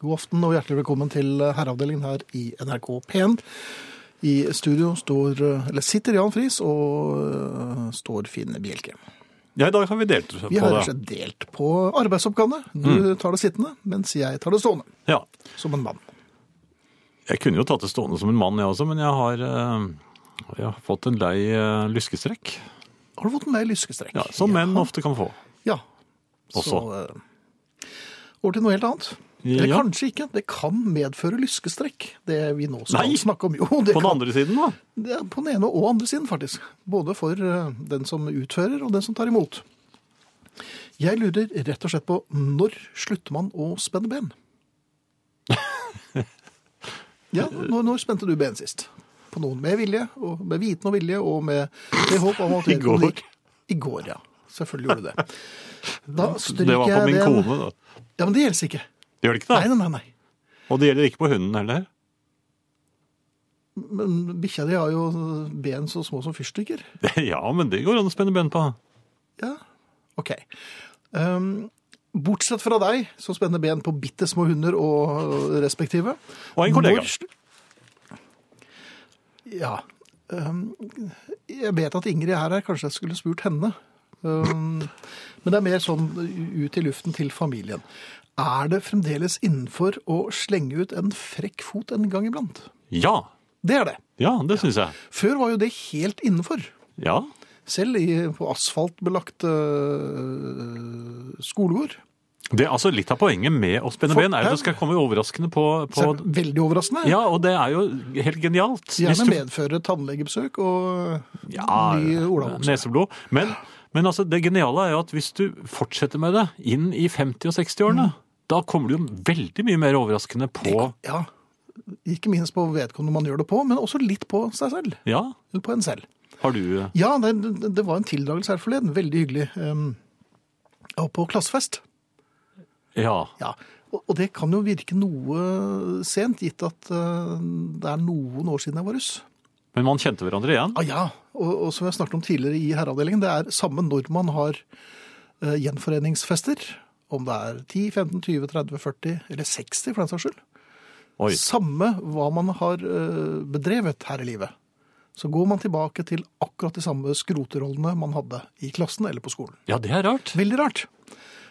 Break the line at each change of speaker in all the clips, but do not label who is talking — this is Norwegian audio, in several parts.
God aften og hjertelig velkommen til eh, herreavdelingen her i NRK P1. I studio står, eh, eller sitter Jan Friis og øh, står Finn Bjelke.
Ja, i dag har vi delt på
Vi har rett og slett
det. Mm.
delt på arbeidsoppgavene. Du tar det sittende, mens jeg tar det stående.
Ja.
Som en mann.
Jeg kunne jo tatt det stående som en mann, jeg også, men jeg har, eh, jeg har fått en lei eh, lyskestrekk.
Har du fått en lei lyskestrekk?
Ja, som menn ofte kan få.
Ja. Så
Også.
øh, over til noe helt annet. Eller
Ja.
kanskje ikke. Det kan medføre lyskestrekk, det vi nå skal
Nei!
snakke om. Jo, det
På den
kan
andre siden, da.
Det er på den ene og andre siden, faktisk. Både for eh, den som utfører, og den som tar imot. Jeg lurer rett og slett på når slutter man å spenne ben? ja, når, når spente du ben sist? På noen med vilje, og med viten og vilje, og med, med håp om at
I går.
vedkommende gikk- I går, ja. Selvfølgelig gjorde du det. Da stryker
Det var på
jeg
min
den-
kone, da.
Ja, men det gjelder ikke.
Det gjør det ikke,
Nei,
da.
nei, nei. nei.
Og det gjelder ikke på hunden heller.
Men bikkja di har jo ben så små som fyrstikker.
Ja, men det går an å spenne ben på.
Ja, ok. Ehm, bortsett fra deg, som spenner ben på bitte små hunder og respektive.
Og en kollega.
Når- Ja. Ehm, jeg vet at Ingrid er her, kanskje jeg skulle spurt henne. Ehm, men det er mer sånn ut i luften til familien. Er det fremdeles innenfor å slenge ut en frekk fot en gang iblant?
Ja.
Det er det.
Ja, det syns jeg.
Før var jo det helt innenfor.
Ja.
Selv i, på asfaltbelagt øh, skolegård.
Det er altså Litt av poenget med å spenne
For-
ben er at det skal komme overraskende på, på
Så er det Veldig overraskende.
Ja, og det er jo helt genialt. Hvis
Gjerne
du-
medføre tannlegebesøk og
Ja,
ny olabukse.
neseblod. Men, men altså, det geniale er jo at hvis du fortsetter med det inn i 50- og 60-årene,
Mm.
da kommer du jo veldig mye mer overraskende på
Ja. Ikke minst på vedkommende man gjør det på, men også litt på seg selv.
Ja,
Eller på en selv.
har du
Ja, det, det var en tildragelse her forleden. Veldig hyggelig. Um, jeg var på klassefest.
Ja.
Ja. Og, og det kan jo virke noe sent, gitt at øh, det er noen år siden jeg var russ.
Men man kjente hverandre igjen?
Ah, ja, og, og som jeg snakket om tidligere i herreavdelingen, det er samme når man har eh, gjenforeningsfester, om det er 10, 15, 20, 30, 40 eller 60 for den saks skyld.
Oi.
Samme hva man har eh, bedrevet her i livet. Så går man tilbake til akkurat de samme skroterollene man hadde i klassen eller på skolen.
Ja, det er rart.
Veldig rart.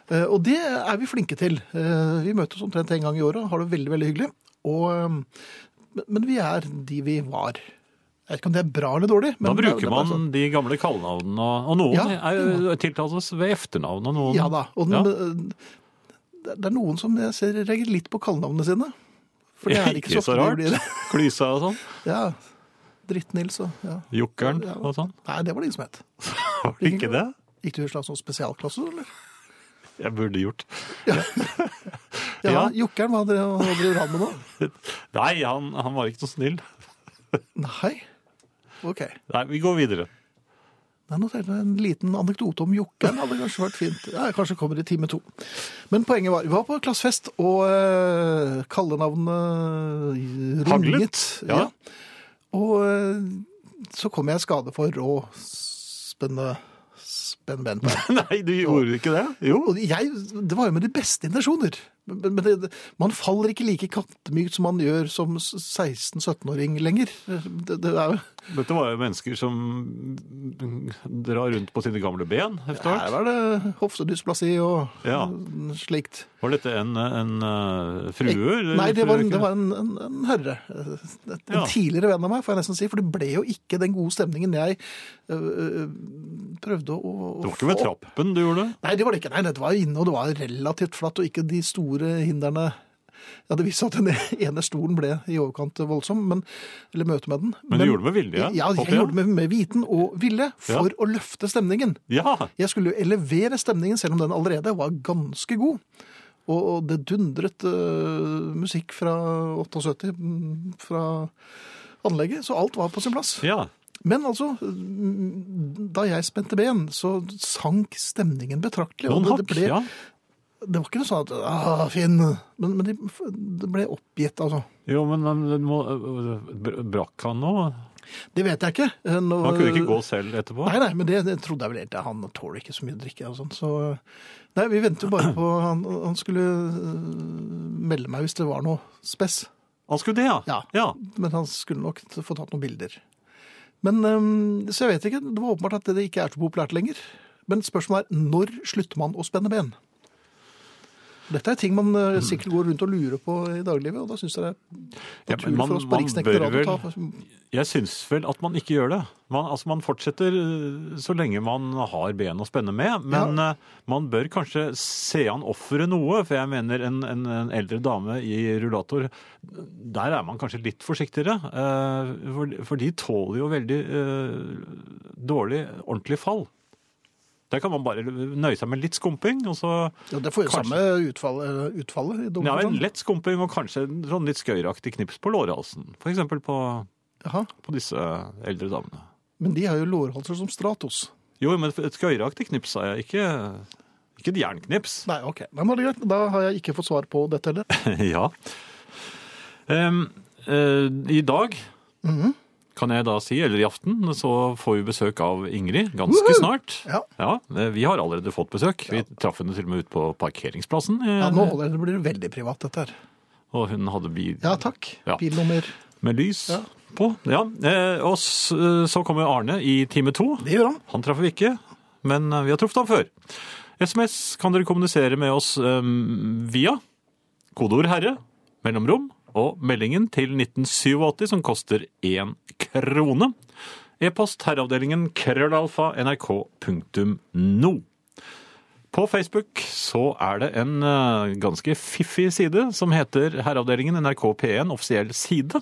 Eh, Og det er vi flinke til. Eh, Vi møtes omtrent en gang i året og har det veldig, veldig hyggelig. Og, eh, men- men vi er de vi var. Jeg vet ikke om det er bra eller dårlig.
Da
Men det er-
bruker
det er bare sånn.
man de gamle kallenavnene, og, og noen
Ja.
er jo tiltales ved etternavn, og noen
Ja da. Og den,
Ja.
eh, det er noen som jeg ser reagerer litt på kallenavnene sine. For det er ikke så ofte det
rart.
blir det.
Klysa og sånn.
Ja. Dritt-Nils og ja.
Jokkeren
Ja.
og sånn.
Nei, det var det ingen som het.
Var det ikke det?
Gikk du i en slags sånn spesialklasse, eller?
Jeg burde gjort.
Ja,
Ja.
Jokkeren, hva dere- hva driver han med nå?
Nei, han, han var ikke noe snill.
Nei? OK.
Nei, vi går videre.
Nei, nå tenkte jeg En liten anekdote om jokkeren hadde kanskje vært fint. Ja, kanskje kommer i time to. Men poenget var, vi var på klassefest, og eh, kallenavnet runget.
Haglet, ja.
Og eh, så kom jeg i skade for å spenne spenne ben på.
Nei, du gjorde ikke det? Jo.
Og jeg, det var jo med de beste intensjoner. Men, men det, man faller ikke like kattemykt som man gjør som 16-17-åring lenger. Det, det er jo...
Dette var jo mennesker som drar rundt på sine gamle ben etter
Her
hvert.
var det hoftedysplasi og
Ja.
eh, slikt.
Var dette en, en eh, frue? eller
Nei, det var,
frøken?
det var en, en, en herre. En
Ja.
tidligere venn av meg, får jeg nesten si. For det ble jo ikke den gode stemningen jeg øh, prøvde å, å
Det var ikke
få.
ved trappen du gjorde det?
Nei, det var det ikke. Nei, dette var jo inne, og det var relativt flatt, og ikke de store hindrene. Ja, Det viste seg at den ene stolen ble i overkant voldsom, men, eller møtet med den.
Men du gjorde det med vilje?
Ja, jeg
håper jeg.
gjorde det med, med viten og ville for å løfte stemningen.
Ja,
Jeg skulle jo elevere stemningen, selv om den allerede var ganske god. Og, og det dundret øh, musikk fra 78 mm, fra anlegget, så alt var på sin plass.
ja.
Men altså, mm, da jeg spente ben, så sank stemningen betraktelig. og
Noen
det,
hakk,
det, ble,
ja.
det var ikke noe sånn at ah, Finn Men, men det, det ble oppgitt, altså.
Jo, men han må, brakk han nå?
Det vet jeg ikke. Eh, nå-
Han kunne ikke gå selv etterpå.
Nei, nei, men det, det trodde jeg vel egentlig. Han tåler ikke så mye drikke og sånn. Så nei, vi venter jo bare på han, han skulle øh, melde meg hvis det var noe spess.
Han skulle det, ja.
Ja.
ja.
Men han skulle nok t- få tatt noen bilder. Men øhm, Så jeg vet ikke. Det var åpenbart at det ikke er så populært lenger. Men spørsmålet er når slutter man å spenne ben? Dette er ting man
Mm.
øh, sikkert går rundt og lurer på i daglivet, og da syns jeg det er
Ja, men
naturlig
man-
for oss på
man
Riksdekkende
bør
Radio å
vel-
ta
Jeg syns vel at man ikke gjør det. Man, altså man fortsetter øh, så lenge man har ben å spenne med, men øh, man bør kanskje se an offeret noe. For jeg mener en, en, en eldre dame i rullator, der er man kanskje litt forsiktigere. øh, for, for de tåler jo veldig øh, dårlig, ordentlig fall. Der kan man bare nøye seg med litt skumping, og så
ja, Det får jo
Kanskje.
samme utfallet, utfallet i
ja, en
dommen. sånn.
lett skumping og kanskje en sånn litt skøyeraktig knips på lårhalsen. For eksempel på,
Jaha.
på disse eldre damene.
Men de har jo lårhalser som Stratos.
Jo, men et skøyeraktig knips sa jeg, ikke, ikke et jernknips.
Nei, ok. Nei, men det er greit. Da har jeg ikke fått svar på dette heller.
ja. Em, eh, I dag,
Mhm.
kan jeg da si, eller i aften, så får vi besøk av Ingrid ganske
Woohoo!
snart.
Ja.
eh, vi har allerede fått besøk. Vi traff henne til og med ut på parkeringsplassen, eh,
Ja, nå holder jeg, det blir veldig privat dette her.
og hun hadde bil
Ja, takk.
Ja.
Bilnummer.
med lys
Ja.
på. Ja. eh, og s- eh, så kommer Arne i time to.
Det gjør han.
Han traff vi ikke, men eh, vi har truffet ham før. SMS kan dere kommunisere med oss eh, via kodeord 'herre', mellomrom, og meldingen til 1987 som koster én krone. E-post herreavdelingen krøllalfa nrk.no. På Facebook så er det en eh, ganske fiffig side som heter Herreavdelingen NRK P1 offisiell side.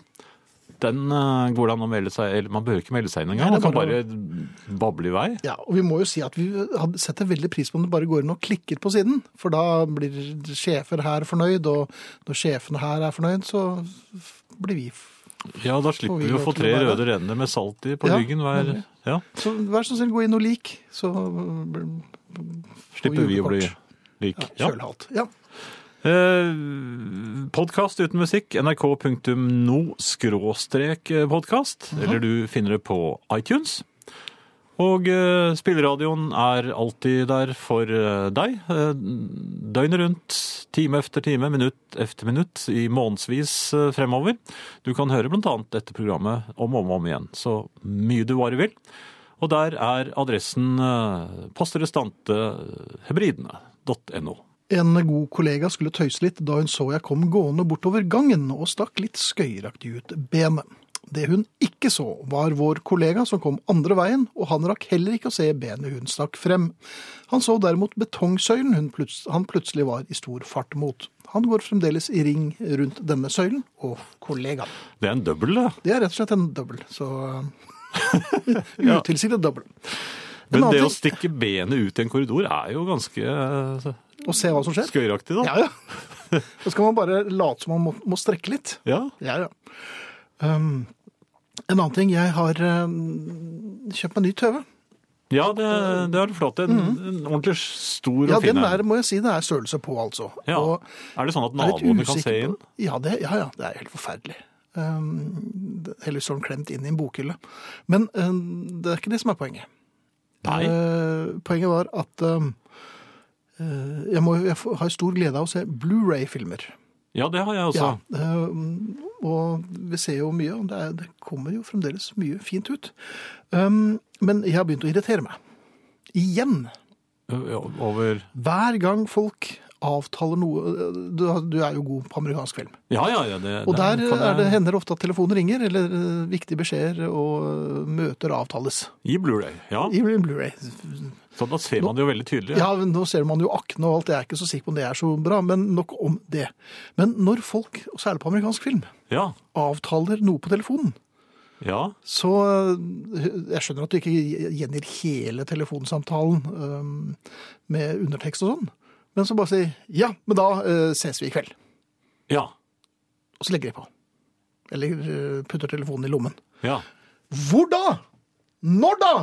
Den eh, går det an å melde seg eller Man behøver ikke melde seg inn
Nei,
engang. Man
det er
kan bare bable i vei.
Ja, og vi må jo si at vi hadde- setter veldig pris på om du bare går inn og klikker på siden, for da blir sjefer her fornøyd, og når sjefen her er fornøyd, så f- blir vi f-
Ja, da slipper
Får vi
vi å
lov
få
til å
tre
være
røde renner med salt i på
Ja,
ryggen hver
nemlig.
Ja,
Så vær så snill, gå inn og lik, så øh, blir-
slipper vi å bli
julekort.
lik.
ja.
Ja.
kjølhalt. Ja.
Eh, podkast uten musikk, nrk.no-podkast, eller du finner det på iTunes. Og eh, spilleradioen er alltid der for eh, deg. Eh, døgnet rundt, time efter time, minutt efter minutt, i månedsvis eh, fremover. Du kan høre bl.a. dette programmet om og om igjen, så mye du bare vil. Og der er adressen eh, posterestantehebridene.no.
En god kollega skulle tøyse litt da hun så jeg kom gående bortover gangen og stakk litt skøyeraktig ut benet. Det hun ikke så, var vår kollega som kom andre veien, og han rakk heller ikke å se benet hun stakk frem. Han så derimot betongsøylen hun pluts han plutselig var i stor fart mot. Han går fremdeles i ring rundt denne søylen og kollegaen.
Det er en eh. double, det.
Det er rett og slett en dobbel, så Utilsiktet dobbel. En
Men
annen
det å
ting-
stikke benet ut i en korridor er jo ganske eh,
Og se hva som skjer.
skøyeraktig, da.
Ja, ja. Da skal man bare late som man må, må strekke litt.
Ja.
Ja, ja. Um, en annen ting, jeg har um, kjøpt meg ny tøve.
Ja, det, det er flott. En, en ordentlig stor
Mhm. Ja,
og fin
den
en.
der må jeg si det er størrelse på, altså.
Ja.
Og
Er det sånn at
jeg er litt
naboene kan
usikker
se inn?
på- Ja, det, ja, ja, det er helt forferdelig. Um, det- heldigvis står den klemt inn i en bokhylle. Men um, det er ikke det som er poenget.
Nei.
Eh, poenget var at um, eh, jeg, må, jeg får- har stor glede av å se Blu-ray-filmer.
Ja, det har jeg også.
Ja, eh, og vi ser jo mye, og det, er, det kommer jo fremdeles mye fint ut. Um, men jeg har begynt å irritere meg. Igjen.
Ja, Over
Hver gang folk avtaler noe eh, Du, du er jo god på amerikansk film.
Ja, ja, ja. Det,
Og der, eh,
kan
er det,
jeg-
hender det ofte at telefonen ringer, eller eh, viktige beskjeder og eh, møter avtales.
I Blu-ray. Ja.
I Blu-ray.
Så da ser man det jo veldig tydelig.
Ja, men nå ser man jo aktene og alt, jeg er ikke så sikker på om det er så bra, men nok om det. Men når folk, og særlig på amerikansk film,
Ja.
avtaler noe på telefonen,
ja.
Så øh, jeg skjønner at du ikke gjengir hele telefonsamtalen øhm, med undertekst og sånn, men så bare si 'ja, men da øh, ses vi i kveld',
Ja.
og så legger de på. Eller øh, putter telefonen i lommen.
ja.
Hvor da? Når da?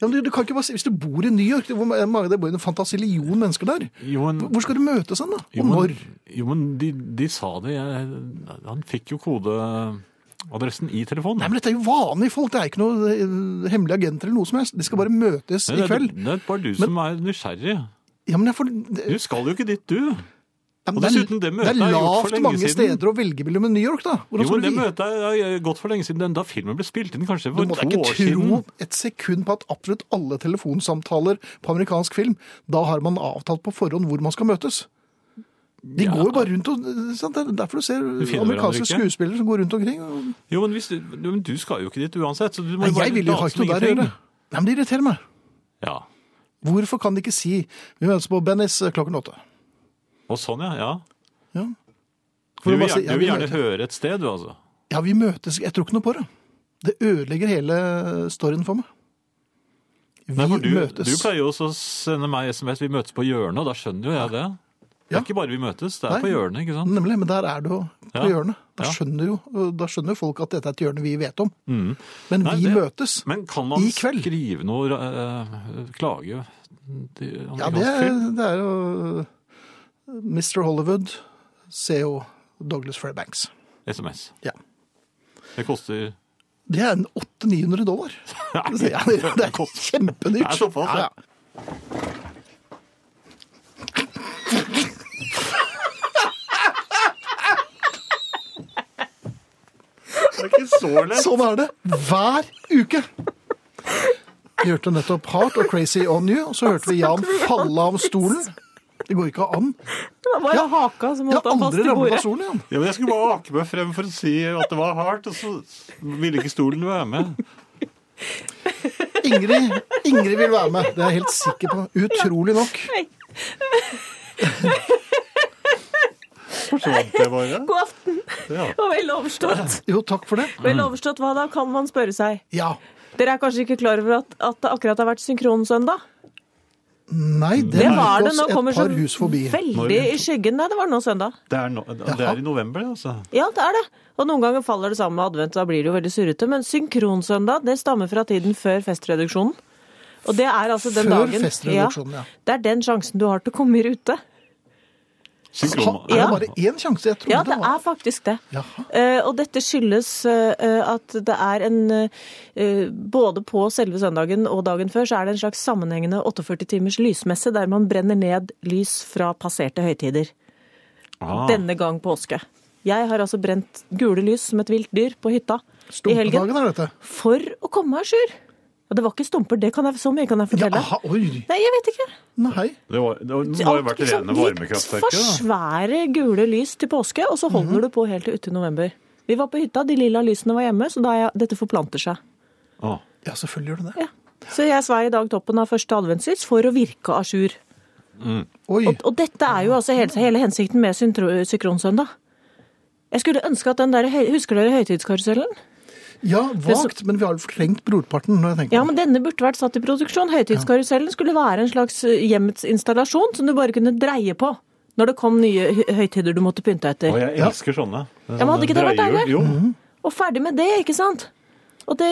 Ja, men du, du kan ikke bare si, Hvis du bor i New York, det, hvor eh, mange, det bor jo en fantasillion mennesker der.
Jo, men,
Hvor skal du møtes hen, da?
jo,
Og
men,
når?
jo, men de, de sa det. Jeg, han fikk jo kode adressen i telefonen.
Nei, men dette er jo vanlige folk. Det er ikke noe eh, hemmelig agent eller noe som helst. De skal bare møtes
Nei, det
i
er-
kveld.
Det er bare du som er nysgjerrig.
Ja, men jeg får... det-
Du skal jo ikke dit, du.
Ja, men
og
det er-
dessuten, det møtet
Det er
er gjort for
lavt
lenge
mange
siden.
steder å velge mellom i New York, da. Hvordan
Jo,
skal
men
du
det
vite?
møtet er er gått for lenge siden. Da filmen ble spilt inn, kanskje
Du
for
må da
to
ikke
år
tro
siden.
et sekund på at absolutt alle telefonsamtaler på amerikansk film, da har man avtalt på forhånd hvor man skal møtes. De
Ja.
går jo bare rundt og sant? Det er derfor du ser
finner hverandre
amerikanske
ikke.
skuespillere som går rundt omkring. Og...
Jo, men, hvis, du- jo, men du skal jo ikke dit uansett. Så du må
Nei,
jo bare
jeg vil jo
late
ha
som
ikke noe der å
ingenting.
gjøre. Nei, men det irriterer meg.
Ja.
Hvorfor kan de ikke si Vi møtes på Bennis klokken åtte.
Og sånn, ja. ja.
Ja.
Du
For å
vil,
bare si,
gjerne,
ja, vi
du vil gjerne
møtes.
høre et sted, du altså.
Ja, vi møtes. Jeg tror ikke noe på det. Det ødelegger hele storyen for meg. Vi
Nei, for du,
møtes.
du pleier jo også å sende meg SMS 'vi møtes på hjørnet', og da skjønner jo jeg det. Det
Ja.
er ikke bare vi møtes, det er
Nei.
på hjørnet, ikke sant?
Nemlig, men der er du jo på
Ja.
hjørnet. Da,
Ja.
skjønner jo, da skjønner jo folk at dette er et hjørne vi vet om. Men
Mm. Nei,
vi
det-
møtes.
Men kan man
I kveld.
skrive noe eh, klage til
Ja, det,
amerikansk film?
det er jo Mr. Hollywood, CO Douglas Fairbanks.
SMS.
Ja.
Det koster
Det er en 800-900 dollar.
Nei,
Ja, det det er kjempedyrt.
Det er såpass, ja. det er ikke så lett.
Sånn er det hver uke. Vi hørte nettopp Heart og Crazy On You, og så hørte vi Jan falle av stolen. Det går ikke an.
Det var bare
Ja.
haka som
Jeg
holdt
har
han fast
aldri
i
ramlet
bordet.
av stolen, Jan.
Ja, men jeg skulle bare ake meg frem for å si at det var hardt, og så ville ikke stolen være med.
Ingrid, Ingrid vil være med, det er jeg helt sikker på. Utrolig nok.
Nei,
Forsvant det bare?
god aften.
Ja.
Og vel overstått.
Jo, takk for det.
Vel overstått hva da, kan man spørre seg.
Ja.
Dere er kanskje ikke klar over at, at det akkurat har vært synkronsøndag?
Nei, det
Det var
gikk
det.
oss
Nå
et
kommer så
par hus forbi.
veldig
Når-
i skyggen. Nei, det var nå søndag.
Det er, no, det er i november, altså.
Ja, det er det. Og noen ganger faller det sammen med advent, og da blir det jo veldig surrete. Men synkronsøndag, det stammer fra tiden før festreduksjonen. Og det er altså den
Før
dagen
festreduksjonen, ja.
Det er den sjansen du har til å komme i rute.
Ha,
Synkron,
er det
Ja.
bare én sjanse? Jeg trodde
Ja, det er
var
faktisk det.
Jaha.
Eh, og dette skyldes eh, eh, at det er en eh, Både på selve søndagen og dagen før så er det en slags sammenhengende 48 timers lysmesse der man brenner ned lys fra passerte høytider.
Ah.
Denne gang påske. Jeg har altså brent gule lys som et vilt dyr på hytta i helgen
Stumpedagen er dette.
for å komme meg à jour. Og det var ikke stumper, det kan jeg, så mye kan jeg
Ja,
fortelle.
aha, oi.
Nei, jeg vet ikke.
Nei.
Det, var, det, var, det må jo
Alt
vært
liksom
rene varmekraftverket.
Litt for
da. Mhm.
svære gule lys til påske, og så holder du på helt til uti november. Vi var på hytta, de lilla lysene var hjemme, så da er jeg, dette forplanter seg.
Ah.
Ja, selvfølgelig gjør det det.
Ja. Så jeg svei i dag toppen av første adventslys for å virke à jour.
Oi.
Og, og dette er jo altså hele, hele hensikten med syntro- sykronsøndag. Jeg skulle ønske at den der, høy- Husker dere høytidskarusellen?
Ja, vagt, men vi har jo fortrengt brorparten. når jeg tenker på
Ja,
det.
men denne burde vært satt i produksjon. Høytidskarusellen skulle være en slags eh, hjemmets installasjon som du bare kunne dreie på når det kom nye hø- høytider du måtte pynte etter.
Og jeg elsker sånne.
Ja, men hadde ikke det vært
Drøyhjul. Jo.
deilig? Og ferdig med det, ikke sant? Og det,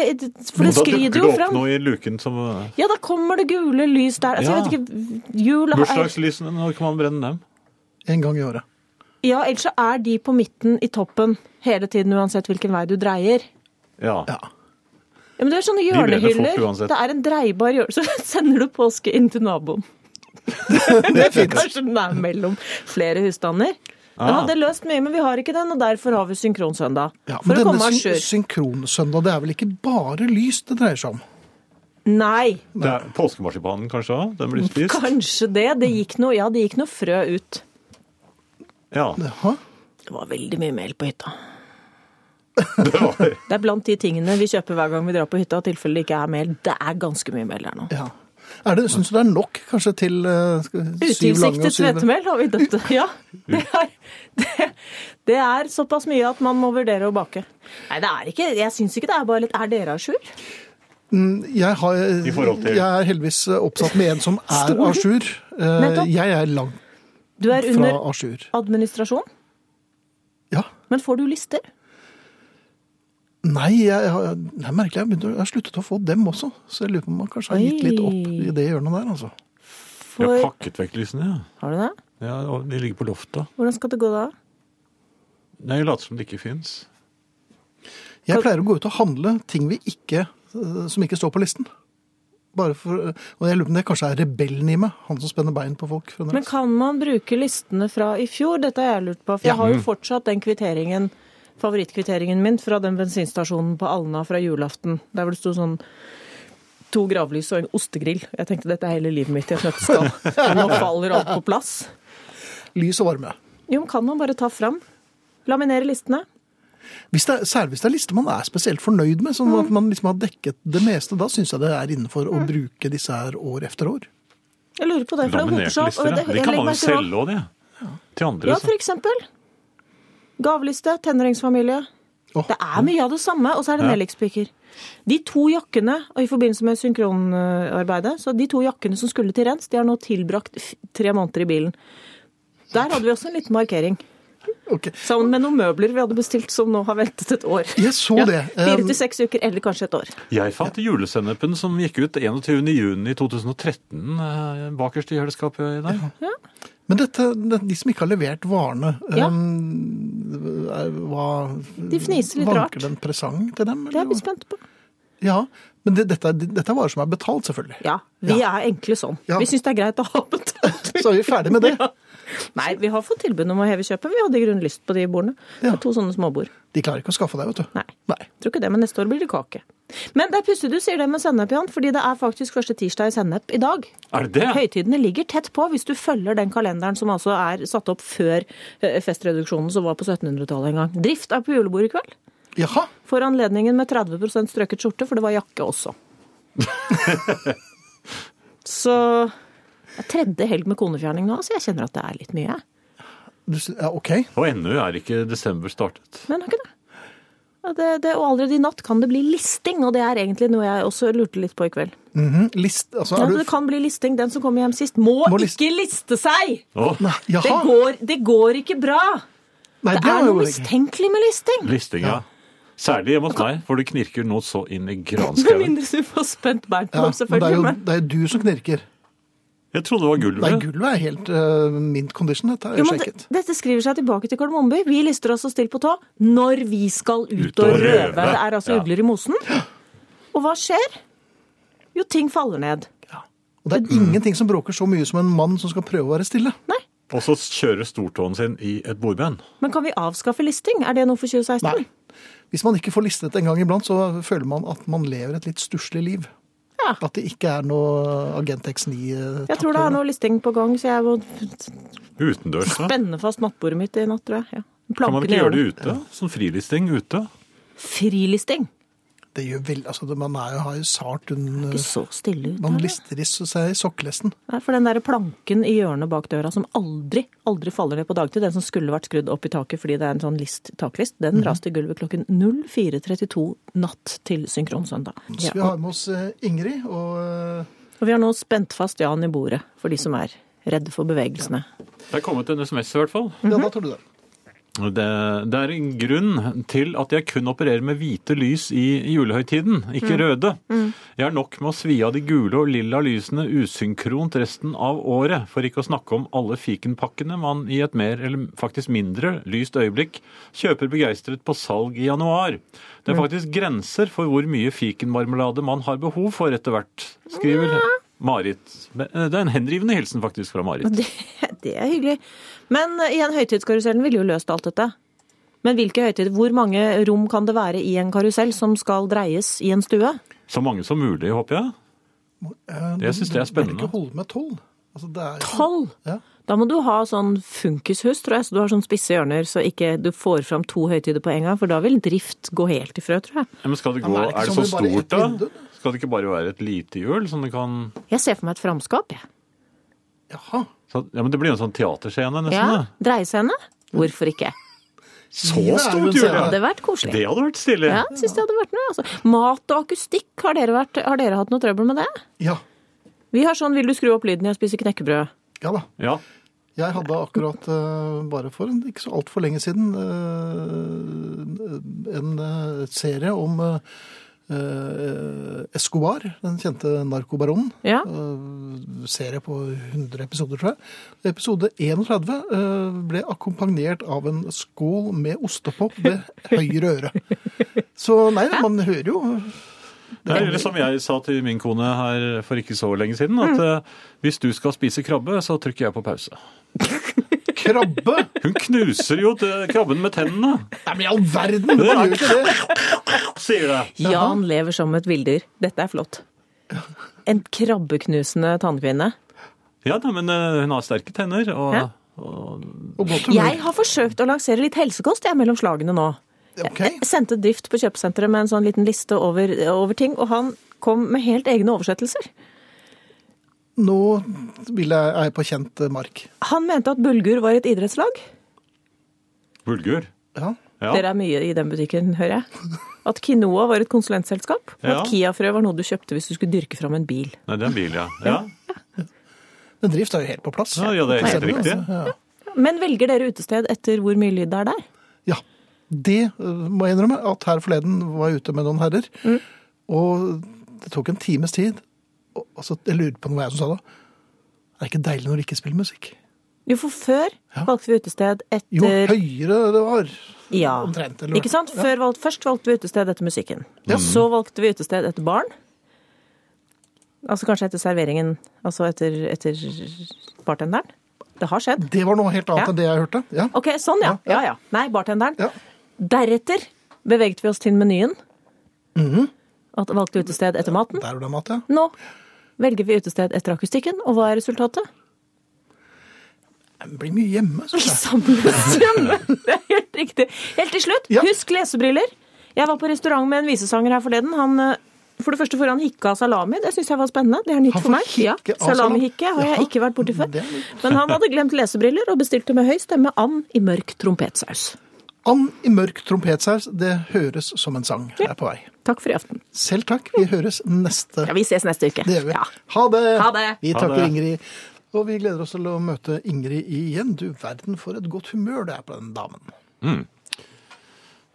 for det
Da dukker
skrider
det
jo
opp
fram.
noe i luken som eh,
Ja, da kommer det gule lys der. Altså,
Ja.
jeg vet ikke, jul er...
Bursdagslysene, når kan man brenne dem?
En gang i året.
Ja, ellers så er de på midten i toppen hele tiden, uansett hvilken vei du dreier.
Ja.
Ja.
Ja, men det er sånne
brenner fort
hjørnehyller.
uansett.
det er en dreibar hjørne, så sender du påske inn til naboen. det er fint. Kanskje den er mellom flere husstander. Den
Ah.
hadde løst mye, men vi har ikke den, og derfor har vi synkronsøndag.
Ja, men
for å
denne
komme av
syn-
sjøl.
synkronsøndag, det er vel ikke bare lys det dreier seg om?
Nei,
Det er Påskemarsipanen kanskje òg? Den blir spist?
kanskje det. Det gikk noe, ja, det gikk noe frø ut.
Ja.
Jaha.
Det var veldig mye mel på hytta.
Det var
Det er blant de tingene vi kjøper hver gang vi drar på hytta, i tilfelle det ikke er mel. Det er ganske mye mel der nå.
Ja. Er det, synes du det er nok kanskje til eh, skal vi- syv lange og
Utilsiktet
syv
svetemel har vi døpt det. Ja. Det er, det, det er såpass mye at man må vurdere å bake. Nei, det er ikke Jeg syns ikke det er bare litt Er dere à jour?
Jeg, har, eh,
I forhold til-
jeg er heldigvis oppsatt med en som er
Stor.
à jour. Eh,
Nettopp.
Jeg er langt
Du er
fra
under
à jour.
administrasjon,
Ja.
men får du lister?
Nei, jeg har, det er merkelig. Jeg, begynte, å- jeg har sluttet å få dem også. Så jeg lurer på om man kanskje har gitt litt opp
Oi.
i det hjørnet der, altså.
Vi har
For,
pakket vekk lysene, ja.
har du det?
ja. og De ligger på loftet.
Hvordan skal det gå da?
Nei, jeg later som det ikke fins.
Jeg pleier å gå ut og handle ting vi ikke, eh, som ikke står på listen. Bare for, og jeg lurer på om det kanskje er rebellen i meg, han som spenner bein på folk. fremdeles.
Men kan man bruke listene fra i fjor? Dette har jeg lurt på. For jeg
Mm.
har jo fortsatt den kvitteringen, favorittkvitteringen min fra den bensinstasjonen på Alna fra julaften. Der hvor det sto sånn to gravlys og en ostegrill. Jeg tenkte dette er hele livet mitt i et nøtteskall. Nå faller alt på plass.
Lys og varme.
Jo, men kan man bare ta fram? Laminere listene?
Hvis det er, særlig hvis det er lister man er spesielt fornøyd med, sånn
Mm.
at man liksom har dekket det meste, da syns jeg det er innenfor å bruke disse her år efter år.
Jeg lurer på det. for det hoper
Laminerte
seg opp, og
lister, ja.
jeg
De kan man
legger
jo
merke til-
selge òg, de. Til andre.
Ja,
så.
for eksempel. Gaveliste, tenåringsfamilie.
Åh.
Det er mye av det samme, og så er det
Ja.
nellikspiker. De to jakkene og i forbindelse med synkronarbeidet, så de to jakkene som skulle til rens, de har nå tilbrakt f- tre måneder i bilen. Der hadde vi også en liten markering,
Ok.
sammen med noen møbler vi hadde bestilt som nå har ventet et år.
Jeg så
Ja,
det.
Fire
Um,
til seks uker, eller kanskje et år.
Jeg fant julesennepen som gikk ut 21.6.2013 eh, bakerst i kjøleskapet i dag.
Men dette, det- de som ikke har levert varene,
Ja.
um, er- hva
De fniser litt
Vanker
rart.
det en presang til dem?
Det er
Eller?
jeg
hva?
spent på.
Ja, Men det, dette, er- dette er varer som er betalt, selvfølgelig.
Ja, vi er enkle sånn.
Ja.
Vi syns det er greit å ha betalt.
Så er vi ferdig med det.
Nei, vi har fått tilbud om å heve kjøpet. Vi hadde i grunnen lyst på de bordene. Det
Ja.
er to sånne småbord.
De klarer ikke å skaffe deg, vet du.
Nei.
Nei.
Tror ikke det, men neste år blir det kake. Men det er pussig du sier det med sennep, Jan, fordi det er faktisk første tirsdag i sennep i dag.
Er det det?
Høytidene ligger tett på hvis du følger den kalenderen som altså er satt opp før eh, festreduksjonen som var på 1700-tallet en gang. Drift er på julebord i kveld.
Jaha.
For anledningen med 30 strøket skjorte, for det var jakke også. Så det er tredje helg med konefjerning nå, så jeg kjenner at det er litt mye. jeg.
Du, s- ja, OK.
Og ennå er ikke desember startet.
Men har ikke det. Ja, det, det. Og allerede i natt kan det bli listing, og det er egentlig noe jeg også lurte litt på i kveld.
Mhm. List, altså,
Ja,
er du,
men det kan bli listing. Den som kommer hjem sist, må,
Må liste-
ikke liste seg!
Å,
Det
jaha.
går, det går ikke bra!
Nei,
Det
det
er
var jo
noe
ikke
mistenkelig med listing!
listinga. Særlig hjemme hos meg, for det knirker nå så inn i
Med
granskauen.
mindre du får spent bein på
ja, men
dem,
det, er
selvfølgelig.
jo,
Men,
det er jo du som knirker.
Jeg trodde det var
Nei,
gulvet.
gulvet er helt eh, mint condition. Dette har
jo,
jeg
men
sjekket.
det, dette skriver seg tilbake til Kardemomme by. Vi lister oss og stiller på tå når vi skal ut,
Ut
og
og
røve.
røve.
Det er altså
Ja.
ugler i mosen. Og hva skjer? Jo, ting faller ned.
Og det er ingenting som bråker så mye som en mann som skal prøve å være stille.
Nei.
Og så kjører stortåen sin i et bordben.
Men kan vi avskaffe listing? Er det noe for 2016?
Nei. Hvis man ikke får listet en gang iblant, så føler man at man lever et litt stusslig liv.
Ja.
At det ikke er noe Agent eh, X9
Jeg tror det er noe listing på gang, så jeg må
Utendørs. da.
spenne fast nattbordet mitt i natt, tror jeg. Ja.
Kan man
Planken i
ikke gjøre det
hjørnet.
ute? Sånn frilisting ute?
Frilisting.
Det gjør vel, altså, det- man er jo, har jo sart under
Ikke så stille ut.
Man
her, da.
lister i s- seg i sokkelesten.
Nei, for den der planken i hjørnet bak døra som aldri, aldri faller ned på dagtid, den som skulle vært skrudd opp i taket fordi det er en sånn list, taklist, den raste i gulvet klokken 04.32 natt til synkronsøndag.
Så
Ja.
vi har med oss eh, Ingrid og eh,
Og vi har nå spent fast Jan i bordet, for de som er redde for bevegelsene.
Det er kommet en SMS i hvert fall.
Mhm.
Ja, da tar du den.
Det, det er en grunn til at jeg kun opererer med hvite lys i julehøytiden, ikke røde. Jeg har nok med å svi av de gule og lilla lysene usynkront resten av året, for ikke å snakke om alle fikenpakkene man i et mer eller faktisk mindre lyst øyeblikk kjøper begeistret på salg i januar. Det er faktisk grenser for hvor mye fikenmarmelade man har behov for etter hvert, skriver Marit. Det er en henrivende hilsen faktisk fra Marit.
Og Det, det er hyggelig. Men eh, igjen, høytidskarusellen ville jo løst alt dette. Men hvilke høytider? Hvor mange rom kan det være i en karusell som skal dreies i en stue?
Så mange som mulig, håper jeg.
Eh,
Jeg synes det er
Du burde
spennende.
ikke holde med tolv. Altså, det er
Tolv!
Ja.
Da må du ha sånn funkishus, tror jeg, så du har sånn spisse hjørner, så ikke du får fram to høytider på en gang, for da vil drift gå helt i frø, tror jeg.
Ja, Men skal det
Ja,
gå,
men er
er
det
det,
ikke sånn
så
med bare
stort
ett
da?
vindu?
Skal det ikke bare være et lite hjul? Sånn det kan...
Jeg ser for meg et framskap, jeg.
Jaha.
så- Ja, men det blir jo en sånn teaterscene nesten.
Ja,
Ja.
Dreiescene? Hvorfor ikke?
Så
Livet er jo en
stort hjul,
scene.
ja!
Det
Det
hadde vært koselig.
hadde vært stilig.
Ja, syns det hadde vært noe, altså. Mat og akustikk, har dere, vært, har dere hatt noe trøbbel med det?
Ja.
Vi har sånn 'vil du skru opp lyden, jeg spiser knekkebrød'.
ja da.
Ja.
Jeg hadde akkurat, eh, bare for en- ikke så altfor lenge siden, eh, en eh, serie om eh, eh, Escobar, den kjente narkobaronen.
Ja.
Eh, Serie på 100 episoder, tror jeg. Episode 31 eh, ble akkompagnert av en skål med ostepop ved høyre øre. Så nei, man hører jo
Det er eller som jeg sa til min kone her for ikke så lenge siden, at
Mm.
eh, hvis du skal spise krabbe, så trykker jeg på pause.
krabbe.
Hun knuser jo til krabben med tennene,
Nei, men i all verden! Man gjør jo ikke det.
sier det.
Jan lever som et villdyr. Dette er flott. En krabbeknusende tannkvinne.
Ja, nei, men eh, hun har sterke tenner, og
Ja.
Og godt humør.
Jeg har forsøkt å lansere litt helsekost jeg, mellom slagene nå.
Ok.
Jeg sendte Drift på kjøpesenteret med en sånn liten liste over, over ting, og han kom med helt egne oversettelser.
Nå vil jeg, er jeg på kjent eh, mark.
Han mente at bulgur var et idrettslag.
bulgur.
Ja.
Ja.
Dere er mye i den butikken, hører jeg. At Quinoa var et konsulentselskap. Og
Ja.
at Kiafrø var noe du kjøpte hvis du skulle dyrke fram en bil.
Nei, det er en bil, ja. Ja,
Den drift er jo helt på plass.
ja, ja det er helt
Ser du,
riktig.
altså. Ja.
Men velger dere utested etter hvor mye lyd det er der?
Ja. Det øh, må jeg innrømme at her forleden var jeg ute med noen herrer, og det tok en times tid. Og, og så jeg lurer på om det var jeg som sa det. Er det ikke deilig når du ikke spiller musikk?
Jo, for før
Ja.
valgte vi utested
Jo
etter
høyere det var,
Ja.
omtrent. Eller?
Ikke sant? Før valg- først valgte vi utested etter musikken. Så valgte vi utested etter barn. Altså kanskje etter serveringen. Altså etter, etter bartenderen. Det har skjedd.
Det var noe helt annet
Ja.
enn det jeg hørte. Ja.
OK, sånn ja. Ja ja. Nei, bartenderen.
Ja.
Deretter beveget vi oss til menyen.
Mhm.
At valgte utested etter maten.
Der var det mat, ja.
Nå velger vi utested etter akustikken, og hva er resultatet?
Det blir mye hjemme,
Vi
synes jeg.
samles hjemme! Det er helt riktig. Helt til slutt,
Ja.
husk lesebriller. Jeg var på restaurant med en visesanger her forleden. Han, eh, for det første får han hikke av salami. Det syns jeg var spennende. Det er nytt
Han
for
får
meg. Ja,
hikke av
Salamihikke har
salami.
jeg
Ja,
ikke vært borti før.
det er nytt.
Men han hadde glemt lesebriller og bestilte med høy stemme and i mørk trompetsaus.
And i mørk trompetsaus, det høres som en sang. Jeg er på vei.
Takk for i aften.
Selv takk. Vi høres neste
Ja, Vi ses neste uke.
Det gjør vi.
Ja.
Ha det!
Ha det.
Vi
Ha
takker
det.
Ingrid. Og vi gleder oss til å møte Ingrid igjen. Du verden for et godt humør det er på den damen.
Eh,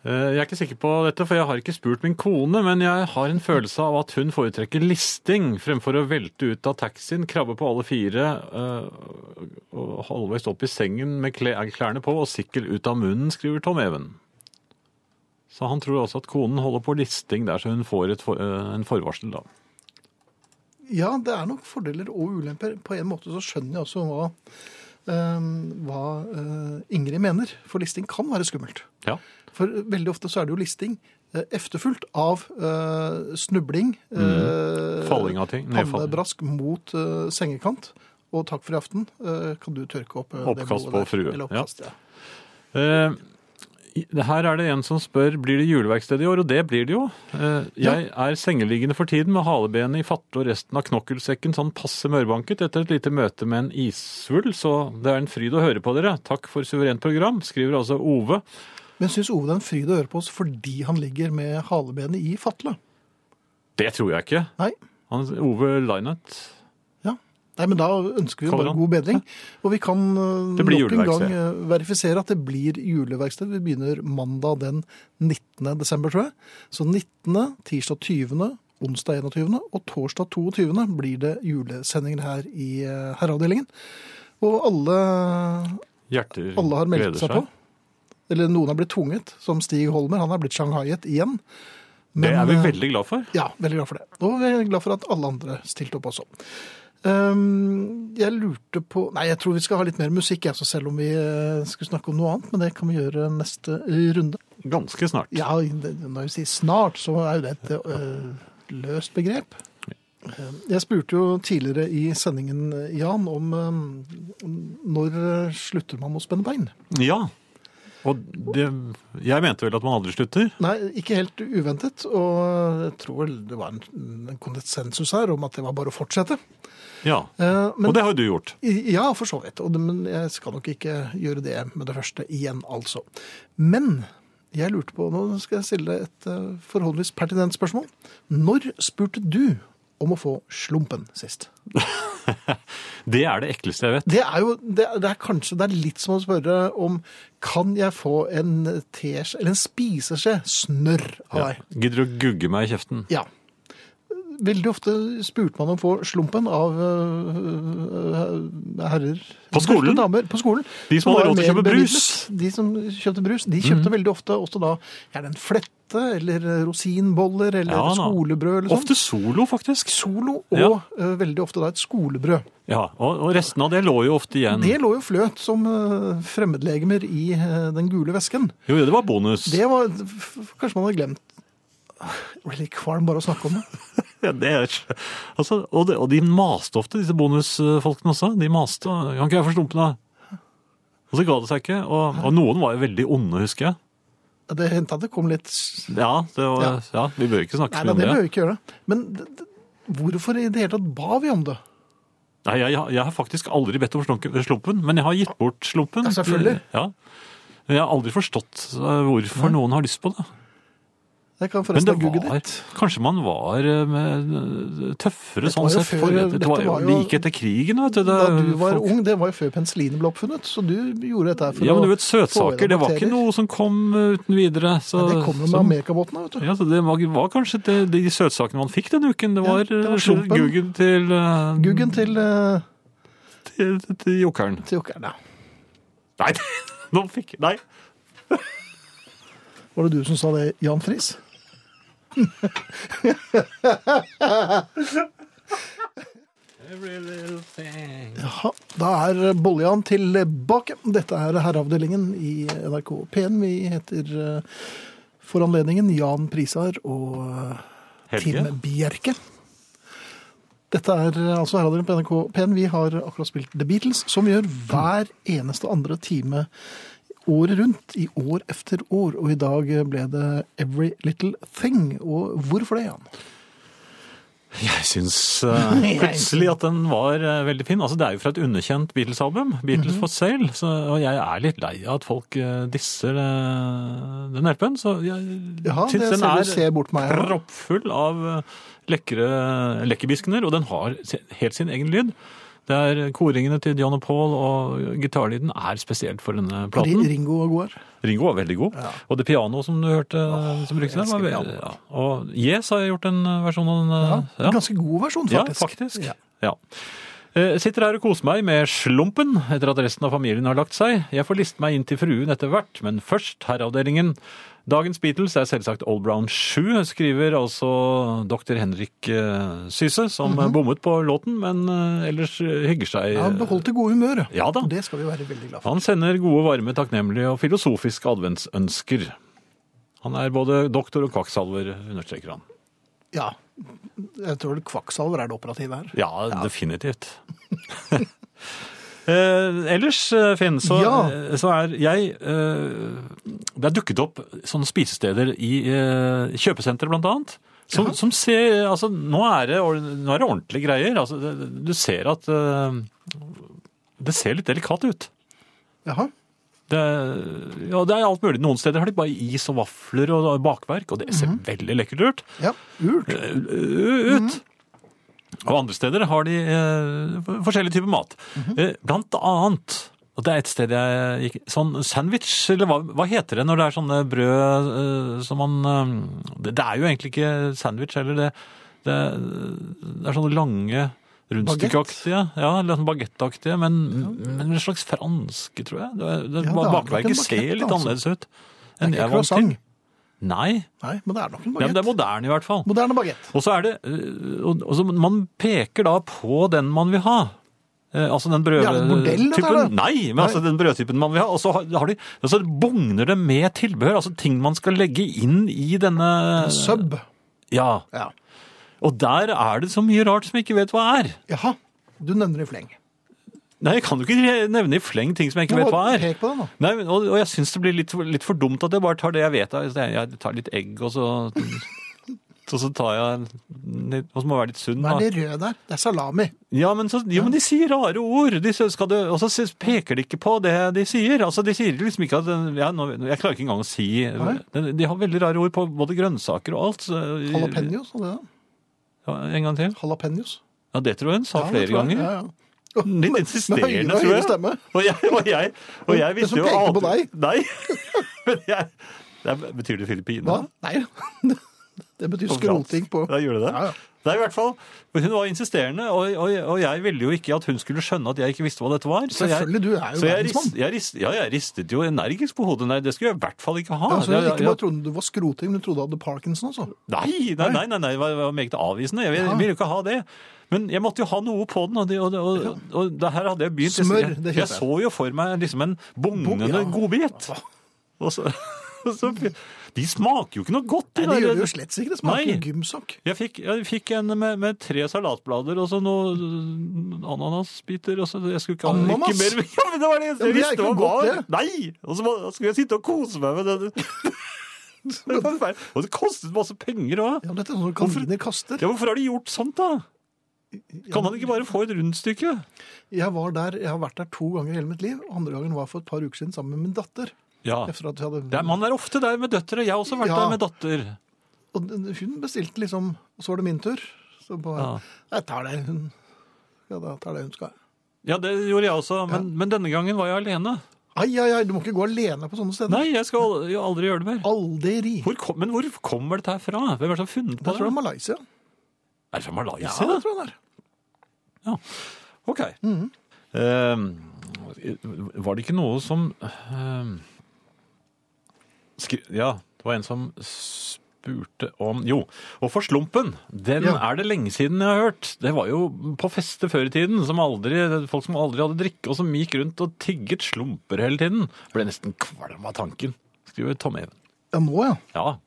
Jeg er ikke sikker på dette, for jeg har ikke spurt min kone, men jeg har en følelse av at hun foretrekker listing fremfor å velte ut av taxien, krabbe på alle fire, eh, og halvveis opp i sengen med kle- eh, klærne på og sikkel ut av munnen, skriver Tom Even. Så han tror også at konen holder på listing der, så hun får et for, eh, en forvarsel da.
Ja, det er nok fordeler og ulemper. På en måte så skjønner jeg også hva, eh, hva eh, Ingrid mener. For listing kan være skummelt.
Ja.
For veldig ofte så er det jo listing eh, efterfulgt av eh, snubling, eh,
Mm. Falling av ting, nedfall.
pannebrask mot eh, sengekant. Og takk for i aften. Eh, kan du tørke opp eh, det
Oppkast
blodet
på
der?
frue.
Eller
Ja.
oppkast, ja.
Eh, i- Her er det en som spør blir det juleverksted i år, og det blir det jo. Eh, Jeg er sengeliggende for tiden med halebenet i fatle og resten av knokkelsekken sånn passe mørbanket etter et lite møte med en issvulv, så det er en fryd å høre på dere. Takk for suverent program, skriver altså Ove.
Men syns Ove det er en fryd å høre på oss fordi han ligger med halebenet i fatle?
Det tror jeg ikke.
Nei.
Han, Ove Linet.
Ja. Nei, men da ønsker vi jo
Kommer
bare
han?
god bedring. Og vi kan eh,
Det blir
nok en gang
juleverksted.
eh, verifisere at det blir juleverksted. Vi begynner mandag den 19. desember, tror jeg. Så 19., tirsdag 20., onsdag 21. og torsdag 22. blir det julesendinger her i eh, herreavdelingen. Og alle,
Hjerter
alle har meldt
gleder
seg på. Eller noen har blitt tvunget, som Stig Holmer. Han er blitt shanghaiet igjen.
Det er vi
eh,
veldig glad for.
Ja, veldig glad for det. Og jeg er glad for at alle andre stilte opp også. Ehm, jeg lurte på Nei, jeg tror vi skal ha litt mer musikk, jeg, så selv om vi eh, skulle snakke om noe annet. Men det kan vi gjøre neste eh, runde.
Ganske snart.
Ja, det, når vi sier snart, så er jo det et eh, løst begrep. Ehm, Jeg spurte jo tidligere i sendingen, eh, Jan, om eh, når eh, slutter man å spenne bein?
Ja. Og det, jeg mente vel at man aldri slutter.
Nei, ikke helt uventet. Og jeg tror vel det var en, en konsensus her om at det var bare å fortsette.
Ja.
Eh, men-
Og det har jo du gjort.
Ja, for så vidt. Og det, men jeg skal nok ikke gjøre det med det første igjen, altså. Men jeg lurte på Nå skal jeg stille deg et eh, forholdsvis pertinent spørsmål. Når spurte du om å få slumpen sist?
Det er det ekleste jeg vet.
Det er jo det, er- det er kanskje det er litt som å spørre om Kan jeg få en teskje, eller en spiseskje, snørr av deg?
Gidder du å gugge meg i kjeften?
Ja. Veldig ofte spurte man om å få slumpen av øh, herrer
På skolen?
Eller Damer, på skolen.
De som hadde
var
råd til å
mer
kjøpe brus. Mhm.
bevidlet. De som kjøpte brus, de kjøpte veldig ofte også da gjerne en flette eller øh, rosinboller eller
Ja, da.
skolebrød eller sånn.
Ofte solo, faktisk.
Solo og
Ja.
øh, veldig ofte da et skolebrød.
Ja, og, og resten av det lå jo ofte igjen.
Det lå jo fløt som øh, fremmedlegemer i øh, den gule vesken.
Jo, det var bonus.
Det var f- f- Kanskje man hadde glemt. Jeg blir litt kvalm bare å snakke om det.
Ja, det er, altså, og, det, og de maste ofte, disse bonusfolkene også. De maste. Kan ikke jeg få slumpen, da? Og så ga det seg ikke. Og, og noen var jo veldig onde, husker jeg.
Det hendte at det kom litt s-
Ja, det var, ja.
Ja.
vi bør ikke snakke
Nei,
så
da,
mye om
det
det.
bør vi ikke gjøre. Men d- d- hvorfor i det hele tatt ba vi om det?
Nei, jeg, jeg har faktisk aldri bedt om slunken- slumpen, men jeg har gitt bort slumpen.
Ja, selvfølgelig.
Ja. Men jeg har aldri forstått eh, hvorfor noen har lyst på det.
Jeg kan
Men
forresten
det
ha googlet
var,
det.
kanskje man var eh, med- tøffere
Dette
sånn
var jo
sett.
før-
for det,
dette
var jo
var jo-
like etter krigen, vet du. Det,
Da du var
folk-
ung, det var jo før penicillinen ble oppfunnet, så du gjorde dette her for
Ja, men du
å
vet, søtsaker, det var ikke noe som kom eh, uten videre. Så,
Nei, det kommer med
så-
amerikabåtene, vet du.
Ja, så det var, var kanskje det, de søtsakene man fikk den uken. Det
Ja,
var,
det var
eh,
slumpen.
guggen til, eh,
Guggen til, eh,
til, til jokeren.
til jokeren, ja.
Nei, nå fikk Nei.
Var det du som sa det, Jan Friis? Jaha, da er Bollian tilbake. Dette er Herreavdelingen i NRK P1. Vi heter eh, for anledningen Jan Prisar og eh,
Helge.
Tim Bjerke. Dette er eh, altså Herreavdelingen på NRK P1. Vi har akkurat spilt The Beatles, som vi gjør hver eneste andre time året rundt, i år efter år. Og i dag eh, ble det Every Little Thing. Og hvorfor det, Jan?
Jeg syns eh, plutselig at den var eh, veldig fin. Altså, det er jo fra et underkjent Beatles-album,
Mhm.
Beatles for Sale, så, og jeg er litt lei av at folk eh, disser eh, den LP-en, så jeg
Ja,
syns
det
den
ser
er
du ser bort meg. her.
proppfull av eh, lekre lekkerbiskener, og den har se- helt sin egen lyd. Det er eh, Koringene til John og Paul og gitarlyden er spesielt for denne platen.
Ringo og Goar.
Ringo var veldig god. Og det piano som du hørte eh, som brukte
jeg
der, var
elsker
veldig ja. Og Yes har jeg gjort en eh, versjon av den.
Ja,
eh,
en Ganske god versjon, faktisk.
Ja, faktisk.
Ja.
Ja. Eh, Sitter her og koser meg med slumpen etter at resten av familien har lagt seg. Jeg får liste meg inn til fruen etter hvert, men først herreavdelingen. Dagens Beatles er selvsagt All Brown 7, skriver altså dr. Henrik eh, Syse, som bommet på låten, men eh, ellers eh, hygger
Mhm.
seg. eh,
Ja, han beholdt det gode humøret.
Ja da.
Og det skal vi være veldig glad for.
Han sender gode, varme, takknemlige og filosofiske adventsønsker. Han er både doktor og kvakksalver, understreker han.
Ja. Jeg tror det kvakksalver er det operative her.
Ja, definitivt. Eh, ellers, eh, Finn, så,
Ja.
eh, så er jeg eh, Det er dukket opp sånne spisesteder i eh, kjøpesentre, blant annet. Som, som ser Altså, nå er det, ord- nå er det ordentlige greier. Altså, det, du ser at eh, Det ser litt delikat ut.
Jaha.
Det, ja, det er alt mulig. Noen steder har de bare is og vafler og bakverk, og det ser veldig lekkert ut
Ja, urt.
ut. Og andre steder har de eh, forskjellige typer mat.
Mhm.
Eh, blant annet, og det er et sted jeg gikk, sånn sandwich, eller hva, hva heter det når det er sånne brød eh, som man eh, det, det er jo egentlig ikke sandwich, eller det, det, det er sånne lange Rundstykkeaktige, ja, eller sånn bagettaktige, men, men en slags franske, tror jeg. Det, det,
Ja, det er nok en
bakverket ser
baguette,
litt
altså.
annerledes ut
Det
enn
er
jeg er
ikke
vant til.
croissant.
Nei,
Nei, men det er nok en
ja, men det
bagett.
er moderne i hvert fall.
Moderne bagett.
Og så er det øh, og, og så Man peker da på den man vil ha. Eh, altså den
Ja, det er bordell, dette her, da.
brødtypen Nei, men altså
Nei.
den brødtypen man vil ha. Og så har, har de, og så bugner det med tilbehør, altså ting man skal legge inn i denne
Sub.
Ja.
Ja.
Og der er det så mye rart som jeg ikke vet hva er.
Jaha. Du nevner i fleng.
Nei, jeg kan jo ikke nevne i fleng ting som jeg ikke vet hva er.
Pek på den, da.
Nei, men- og, og jeg syns det blir litt, for- litt for dumt at jeg bare tar det jeg vet. da. Jeg, jeg tar litt egg, og så, og så tar jeg Og så må jeg være litt sunn.
Hva
da.
er det røde der? Det er salami.
Ja, men, så, jo, men de sier rare ord. De, sier, skal du, og så sier- peker de ikke på det de sier. Altså, de sier liksom ikke at ja, nå, Jeg klarer ikke engang å si
Nei.
de, de har veldig rare ord på både grønnsaker og alt. så-
Jalapeños og det der.
Ja, en gang til.
Jalapeños.
Ja, det tror jeg hun sa
Ja, det
flere
tror jeg.
ganger.
Ja, ja.
Litt
høyere-
insisterende, tror
høyere
jeg.
stemme.
Og jeg, og jeg, og jeg
Men
visste
så
jo
peker på
aldri- Nei. Men jeg, det er, betyr det Filippinene?
Hva? Nei. Det betyr
Overalt.
skroting på
Ja, gjorde det?
Ja, ja.
Det er i hvert fall, men Hun var insisterende, og, og, og jeg ville jo ikke at hun skulle skjønne at jeg ikke visste hva dette var. Så jeg,
Selvfølgelig, du er jo
så jeg,
verdensmann.
rist, jeg, rist, ja, jeg ristet jo energisk på hodet. Nei, det skulle jeg i hvert fall ikke ha.
Ja, så du
Jeg-
Altså, ikke
jeg-
bare trodde du var skroting, men du trodde du hadde Parkinson også.
Nei, nei, nei, nei, nei, det var- det var meget avvisende. Jeg ville- ville jo ikke ha det. Men jeg måtte jo ha noe på den, og det, og, det- og, og det her hadde jeg begynt.
Smør,
jeg,
det heter
jeg,
det.
så jo for meg liksom en bugnende
ja.
godbit. Og så, og så, de smaker jo ikke noe godt. de
Nei, det
der-
gjør det jo slett ikke. Det smaker
Nei.
jo gymsokk.
Jeg fikk, jeg fikk en med, med tre salatblader og så noen ananasbiter. Og så jeg skulle ikke ha
Ananas?
ikke mer. Ja, men det var det
Ja, men
eneste jeg
det er
visste
ikke
hva
godt,
var.
det.
Nei! Og så må- skulle jeg sitte og kose meg med det. Det var feil. Og det kostet masse penger òg.
Ja, men dette er sånn
Hvorfor-
kaniner kaster.
Ja, hvorfor har de gjort sånt, da? Kan man ikke bare få et rundstykke?
Jeg, var der, jeg har vært der to ganger i hele mitt liv. Andre gangen var for et par uker siden sammen med min datter.
Ja.
Etter at vi hadde...
Det er, man er ofte der med døtre. Jeg har også vært
Ja.
der med datter.
Og hun bestilte liksom, og så var det min tur. Så bare,
Ja.
jeg tar det hun, ja, da tar det hun skal.
Ja, det gjorde jeg også, men, men denne gangen var jeg alene.
Ai, ai, ai, du må ikke gå alene på sånne steder.
Nei, jeg skal al- jo aldri gjøre det mer.
Aldri.
Hvor kom, men hvor kommer dette her fra? Hvem er det som har funnet på
Jeg tror det
det?
er Malaysia.
Er det fra Malaysia?
Ja, det tror jeg det er.
Ok. Mhm. Eh, var det ikke noe som eh, skri Ja, det var en som spurte om Jo, og for slumpen, den
Ja.
er det lenge siden jeg har hørt. Det var jo på feste før i tiden. Som aldri, folk som aldri hadde drikke, og som gikk rundt og tigget slumper hele tiden. Ble nesten kvalm av tanken, skriver Tom Even.
Ja, nå ja.
Ja,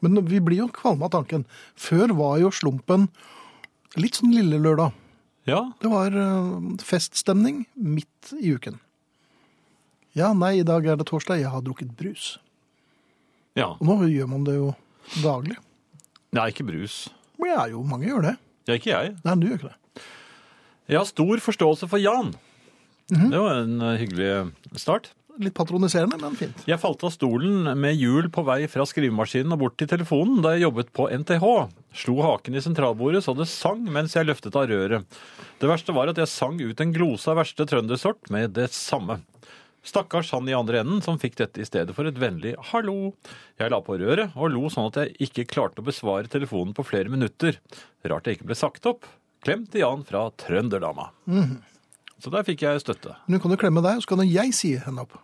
Men vi blir jo kvalme av tanken. Før var jo slumpen litt sånn lille lørdag.
ja.
Det var eh, feststemning midt i uken. Ja, nei, i dag er det torsdag, jeg har drukket brus.
ja.
Og nå gjør man det jo daglig.
Nei, ikke brus.
Men ja, jo, mange gjør det.
Ja, ikke jeg.
Nei, du gjør ikke det.
Jeg har stor forståelse for Jan. Det var en eh, hyggelig start.
Litt patroniserende, men fint.
Jeg falt av stolen med hjul på vei fra skrivemaskinen og bort til telefonen da jeg jobbet på NTH. Slo haken i sentralbordet så det sang mens jeg løftet av røret. Det verste var at jeg sang ut en glose av verste trøndersort med det samme. Stakkars han i andre enden som fikk dette i stedet for et vennlig hallo. Jeg la på røret og lo sånn at jeg ikke klarte å besvare telefonen på flere minutter. Rart jeg ikke ble sagt opp. Klem til Jan fra Trønderdama. Så der fikk jeg støtte.
Men hun kan jo klemme deg, og så kan jo jeg si henne opp.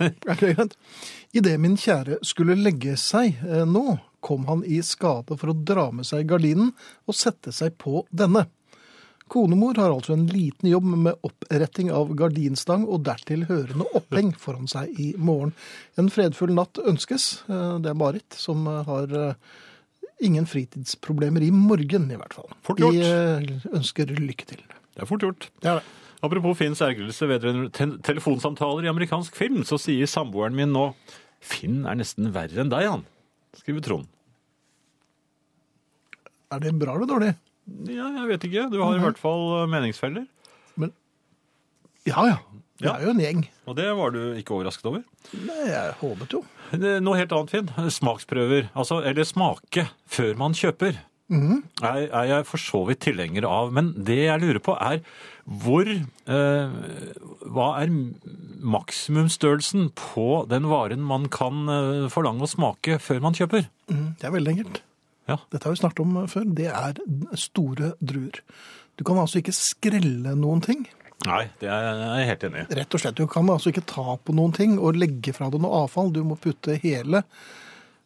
Er det greit? Idet min kjære skulle legge seg eh, nå, kom han i skade for å dra med seg gardinen og sette seg på denne. Konemor har altså en liten jobb med oppretting av gardinstang og dertil hørende oppheng foran seg i morgen. En fredfull natt ønskes. Eh, Det er Marit som eh, har eh, ingen fritidsproblemer i morgen, i hvert fall.
Fort gjort.
De eh, ønsker lykke til.
Det er fort gjort.
Det er det.
Apropos Finns ergrelse vedrørende te- telefonsamtaler i amerikansk film, så sier samboeren min nå Finn er nesten verre enn deg, han, skriver Trond.
Er det bra eller dårlig?
Ja, jeg vet ikke. Du har i hvert fall eh, meningsfeller.
Men Ja ja. Det
Ja.
er jo en gjeng.
Og det var du ikke overrasket over.
Nei, jeg håpet jo.
Det er Noe helt annet, Finn. Smaksprøver. Altså, eller smake før man kjøper. er, er jeg for så vidt tilhenger av. Men det jeg lurer på, er hvor eh, Hva er maksimumsstørrelsen på den varen man kan eh, forlange å smake før man kjøper?
Mm, Det er veldig enkelt.
Ja.
Dette har vi snakket om før. Det er store druer. Du kan altså ikke skrelle noen ting.
Nei, det er jeg helt enig i.
Rett og slett, Du kan altså ikke ta på noen ting og legge fra deg noe avfall. Du må putte hele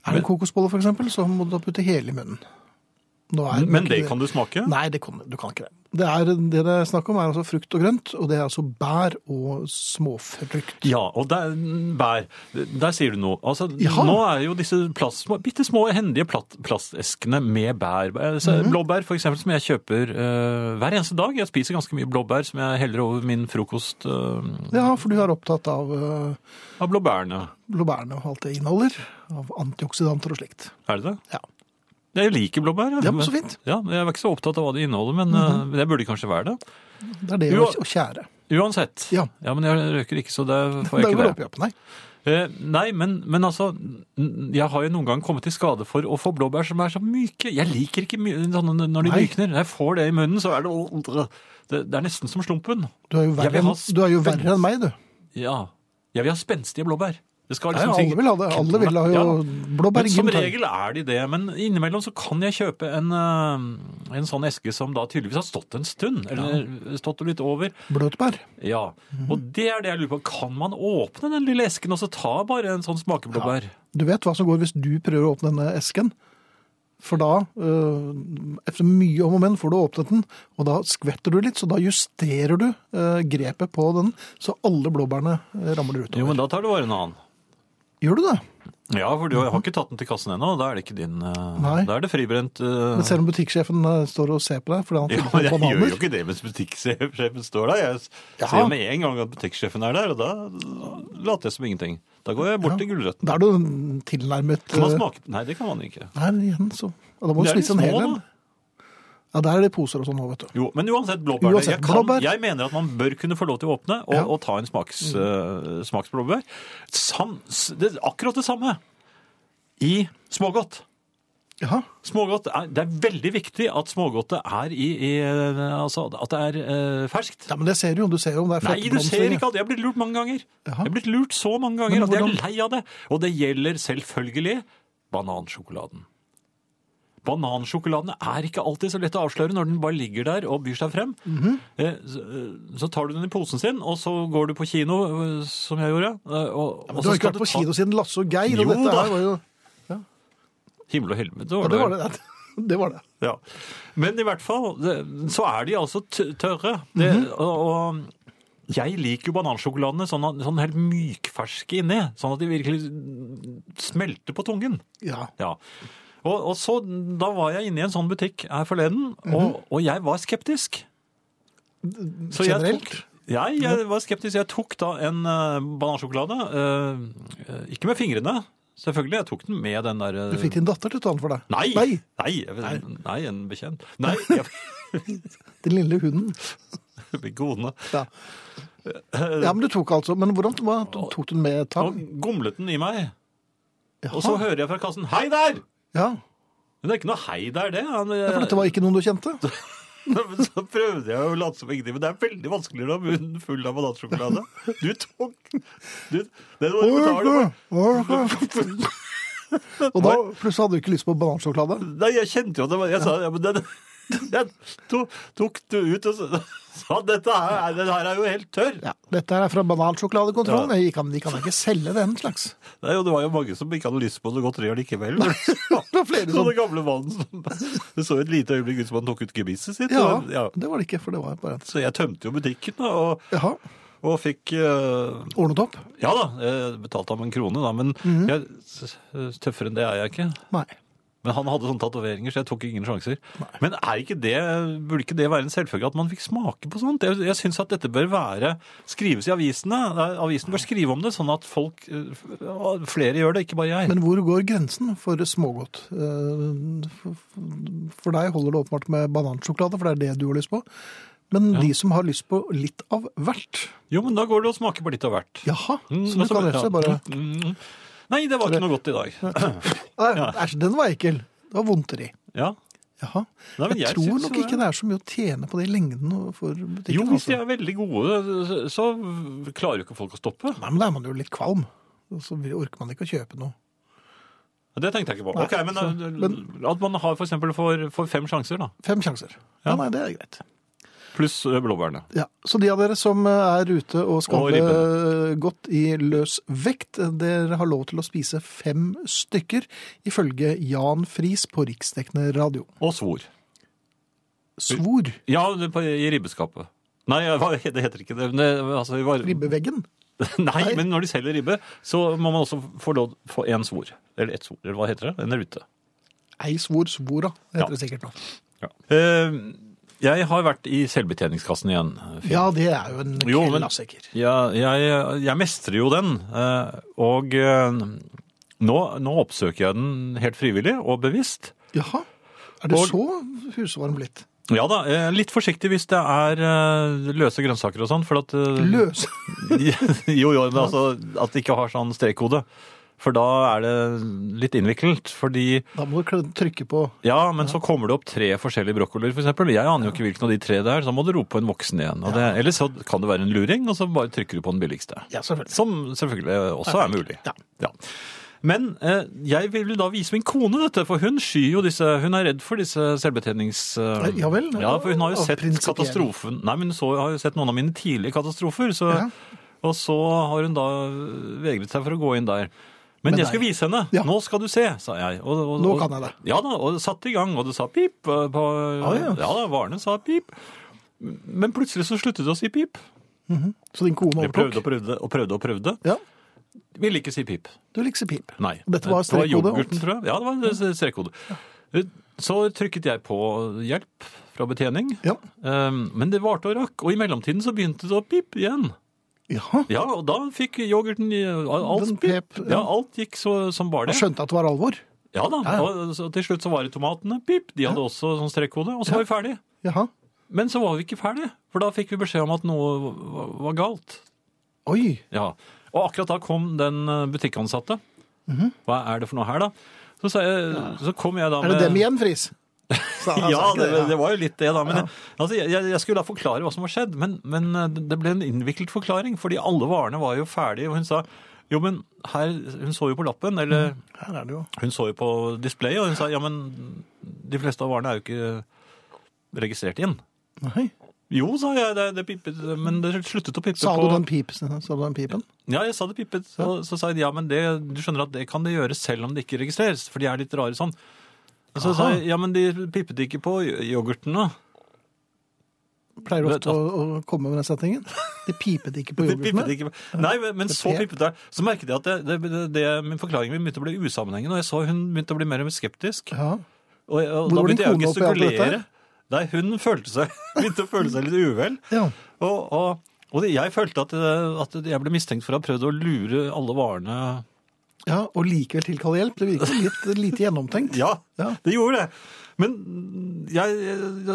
Er det
Men-
kokosboller, for eksempel, så må du da putte hele i munnen. Nå er
Men det kan du smake?
Nei, det kan, du kan ikke det. Det, er, det det er snakk om, er altså frukt og grønt, og det er altså bær og småfrukt.
Ja, og der, bær, der sier du noe. Altså,
Ja.
Nå er jo disse plass, bitte små, hendige plat, plasteskene med bær. Altså,
Mhm.
Blåbær for eksempel, som jeg kjøper eh, hver eneste dag. Jeg spiser ganske mye blåbær som jeg heller over min frokost eh,
Ja, for du er opptatt av øh,
av blåbærene.
blåbærene og alt det inneholder. Av antioksidanter og slikt.
Er det det?
Ja.
Jeg liker blåbær.
Ja, men så fint. Mhm.
Ja, jeg er ikke så opptatt av hva det inneholder, men eh, det burde kanskje være det.
Det er det
Jo.
å å tjære.
Uansett.
Ja.
men jeg røyker ikke, så det
Da
får jeg ikke
går det
det.
opp i opp, nei.
Eh, nei, men, men altså, n- jeg har jo noen gang kommet i skade for å få blåbær som er så myke. Jeg liker ikke my sånne når de
Nei.
mykner. Når jeg får det i munnen, så er det Det, det er nesten som slumpen.
Du er jo
Jeg
verre,
vil ha
enn, du er jo verre enn meg, du.
Ja. Jeg vil ha spenstige blåbær. Det skal
Nei,
liksom
alle
sikkert-
vil ha det. Alle vil ha jo
Ja.
blåbær
Men
i
som
gymtøy.
regel er de det, men innimellom så kan jeg kjøpe en, eh, en sånn eske som da tydeligvis har stått en stund, eller stått litt over.
Bløtbær.
Ja,
Mhm.
og det er det jeg lurer på. Kan man åpne den lille esken og så ta bare en sånn smakeblåbær?
Du vet hva som går hvis du prøver å åpne denne esken. For da, øh, etter mye om og men, får du åpnet den, og da skvetter du litt, så da justerer du øh, grepet på den, så alle blåbærene øh, ramler utover.
Jo, men da tar du bare en annen.
Gjør du det?
Ja, for du har har ikke tatt den til kassen ennå, og da er det ikke din. eh,
Mhm. Nei.
Da er det fribrent. eh,
Men selv om butikksjefen øh, står og ser på deg, fordi han
Ja,
har
men
funnet
jeg
noen
gjør jo
bananer.
ikke det mens butikksjefen står der. Jeg s-
Ja.
ser jo med en gang at butikksjefen er der, og da later jeg som ingenting. Da går jeg bort til gulrøtten.
Da er du tilnærmet
Kan man
øh,
smake? Nei, det kan man ikke.
Nei, igjen, så Og da må du
De er litt
spise en hel
små,
en.
da.
Ja, der er det poser og sånn nå, vet du.
Jo, men uansett, blåbær.
Uansett,
jeg, kan,
blåbær.
jeg mener at man bør kunne få lov til å åpne og,
Ja. Mm.
og ta en smaks, eh, smaksblåbær. Sam, s- det, er akkurat det samme i smågodt.
Ja,
Smågodt er, det er veldig viktig at smågodtet er i, i eh, altså, at det er eh, ferskt.
ja men det ser du jo. Du ser jo om det er
Nei, du ser ikke alt. Jeg er blitt lurt mange ganger.
Jaha.
Jeg er blitt lurt så mange
Men
ganger at jeg er
hvordan-
lei av det. Og det gjelder selvfølgelig banansjokoladen. Banansjokoladen er ikke alltid så lett å avsløre når den bare ligger der og byr seg frem.
Mhm.
Eh, så- eh, Så tar du den i posen sin, og så går du på kino, eh, som jeg gjorde. eh, Og, og
Du har
så
ikke
skal
vært
du
på
ta
kino siden Lasse og Geir,
Jo
og dette
da.
her var jo
Himmel og helvete.
Ja, det var det. Det var det.
Ja. Men i hvert fall det- så er de altså t- tørre. Det,
Mhm.
og, og jeg liker jo banansjokoladene sånn, at- sånn helt mykferske inni, sånn at de virkelig smelter på tungen.
Ja.
Ja. Og, og så, da var jeg inne i en sånn butikk her forleden,
Mhm.
og, og jeg var skeptisk. Så jeg
Generelt?
tok- Jeg, jeg var skeptisk. Jeg tok da en eh, banansjokolade, eh, eh, ikke med fingrene, selvfølgelig. Jeg tok den med den der... eh,
Du fikk din datter til å ta den for deg?
Nei! Nei,
Nei,
jeg- nei en bekjent. Nei, jeg...
Den lille hunden.
Med godene.
Ja. ja, men du tok altså Men hvordan hva, tok du den med
Og
tang?
gomlet den i meg. Og så
Jaha.
hører jeg fra kassen 'hei der'!
Ja.
Men det er ikke noe 'hei der', det. Han,
ja, for dette var ikke noen du kjente?
Men så prøvde jeg å late som ingenting, men det er veldig vanskelig å ha munnen full av banansjokolade. Du tok du, Det må du betale for.
Og da plutselig hadde du ikke lyst på banansjokolade?
Nei, jeg kjente jo at det var Jeg sa ja, men den, den to, tok du ut og så- sa dette her, er- den her er jo helt tørr.
Ja, Dette her er fra banansjokoladekontrollen. De kan, de kan ikke selge den slags.
Nei, og det var jo mange som ikke hadde lyst på noe godteri allikevel.
Det sånn- var flere
Så
som
den gamle mannen som Det så et lite øyeblikk ut som han tok ut gebisset sitt.
Ja,
og- ja.
det var det ikke, for det var bare et
Så jeg tømte jo butikken da, og,
Jaha.
og fikk eh,
Ordnet opp?
Ja da, jeg betalte ham en krone, da, men
Mhm.
jeg, s- s- tøffere enn det er jeg ikke.
Nei.
Men han hadde sånne tatoveringer, så jeg tok ingen sjanser. Men er ikke det, burde ikke det være en selvfølge at man fikk smake på sånt? Jeg, jeg syns at dette bør være skrives i avisene. Eh, Avisen bør skrive om det, sånn at folk eh, f- Flere gjør det, ikke bare jeg.
Men hvor går grensen for smågodt? Eh, for- For deg holder det åpenbart med banansjokolade, for det er det du har lyst på. Men de som har lyst på litt av hvert
jo, men da går det å smake på litt av hvert.
Jaha,
Mm,
så
og
du kan rett og slett bare
Mm, Nei, det var ikke noe godt i dag.
Nei, Æsj, den var ekkel. Det var vondteri.
Ja.
Jaha.
Nei, men
Jeg
jeg
tror
syns
nok
jo
ikke det er så mye å tjene på det i lengden for butikken.
Jo, hvis de
altså.
er veldig gode, så- så klarer jo ikke folk å stoppe.
Nei, men da er man jo litt kvalm. Og Så orker man ikke å kjøpe noe.
Det tenkte jeg ikke på.
Nei,
ok, men, eh,
så- men-
At man har for eksempel for, for fem sjanser, da.
Fem sjanser.
Ja.
Ja, nei, det er greit.
Pluss eh, blåbærene.
Ja, Så de av dere som er ute og
Og
skaller
ribben.
godt i løs vekt, eh, dere har lov til å spise fem stykker, ifølge Jan Friis på riksdekkende radio.
Og svor.
Svor
Ja, det på, i ribbeskapet. Nei, hva- det heter ikke det. men det altså, det var,
ribbeveggen.
Nei, men når de selger ribbe, så må man også få lov få én svor. Eller ett svor, eller hva heter det? En rute.
Ei svor svora, heter
Ja.
det sikkert nå.
Ja. Eh, jeg har vært i selvbetjeningskassen igjen. Finn.
Ja, det er jo en altså,
Jo, men-
klassiker.
Ja, jeg, jeg mestrer jo den, eh, og eh, nå, nå oppsøker jeg den helt frivillig og bevisst.
Jaha. Er det
Og-
så husvarm blitt?
Ja da, eh, litt forsiktig hvis det er eh, løse grønnsaker og sånn, for at eh,
Løs.
Jo, jo, men altså at det ikke har sånn strekkode. For da er det litt innviklet. Fordi
Da må du kl- trykke på
Ja, men så kommer det opp tre forskjellige brokkolier, f.eks. eksempel. Jeg aner jo ikke hvilken av de tre det er, så da må du rope på en voksen igjen. Og det, eller så kan det være en luring, og så bare trykker du på den billigste.
Ja, selvfølgelig.
Som selvfølgelig også er mulig.
Ja.
Men eh, jeg vil da vise min kone dette, for hun skyr jo disse Hun er redd for disse selvbetjenings... eh,
Ja vel.
Ja, for hun har jo
Av
sett
prinsipielle.
katastrofen Nei, men hun så, har jo sett noen av mine tidlige katastrofer, så
Ja.
Og så har hun da vegret seg for å gå inn der. Men,
Men
jeg skal
nei.
vise henne.
Ja.
Nå skal du se, sa jeg. Og, og,
Nå
og-
kan jeg det.
Ja da, og det satte i gang, og det sa pip. eh, På,
Ah,
ja.
ja.
da, varene sa pip. Men plutselig så sluttet det å si pip.
Så din kone
Vi prøvde og
overtok.
prøvde og prøvde. og prøvde.
Ja,
Ville ikke si pip.
du likser pip.
Nei.
Dette var
Det
strekkode,
yoghurten,
alt.
tror jeg. Ja, det var en strekkode. Så trykket jeg på hjelp fra betjening.
Ja.
Um, Men det varte og rakk, og i mellomtiden så begynte det å pip igjen.
Jaha.
Ja, og da fikk yoghurten i- alt
Den
pip.
pep, ja.
Ja, alt gikk så, som bare
Jeg
det.
skjønte at det var alvor.
Ja da,
Ja, ja.
og så til slutt så var det tomatene, pip, de hadde også sånn strekkode, og så var vi ferdige.
Jaha.
Men så var vi ikke ferdige, for da fikk vi beskjed om at noe var- var galt.
Oi.
Ja, og akkurat da kom den eh, butikkansatte. Hva er det for noe her da? Så, sa jeg, så kom jeg da med...
Mhm. Er det dem igjen, Friis? Sa- sa
Ja,
ikke
det, det
ja.
var jo litt det, da. Men jeg, altså, jeg, jeg skulle da forklare hva som har skjedd, men, men eh, det ble en innviklet forklaring, fordi alle varene var jo ferdige. Og hun sa jo, men her Hun så jo på lappen, eller
Her er det jo.
hun så jo på displayet, og hun sa ja, men de fleste av varene er jo ikke registrert inn.
Nei.
Jo, sa jeg, det, det pipet, men det sluttet å pipe
Sa
på
du den pipen? Sa du den pipen?
Ja, jeg sa det pipet. Så, så sa jeg ja, men det, du skjønner at det kan det gjøre selv om det ikke registreres, for de er litt rare sånn. Og så sa
Aha.
jeg ja, men de pipet ikke på yoghurten nå.
Pleier
Vet du-
ofte å, å komme med den setningen. Det pipet ikke på
Det pipet
yoghurtene.
ikke. Nei, men- men
Det
så
pep.
pipet det. Så merket jeg at det, det, det, det, min forklaring min begynte å bli usammenhengende, og jeg så hun begynte å bli mer og mer skeptisk.
Ja.
Og,
Hvor
og da
var din
begynte jeg å
kone oppi alt dette
gestikulere. Nei, hun følte seg, begynte å føle seg litt uvel.
ja.
Og, og, og jeg følte at, at jeg ble mistenkt for å ha prøvd å lure alle varene.
ja. Og likevel tilkalle hjelp. Det virker litt lite gjennomtenkt.
Ja,
Ja.
det gjorde det. Men jeg, jeg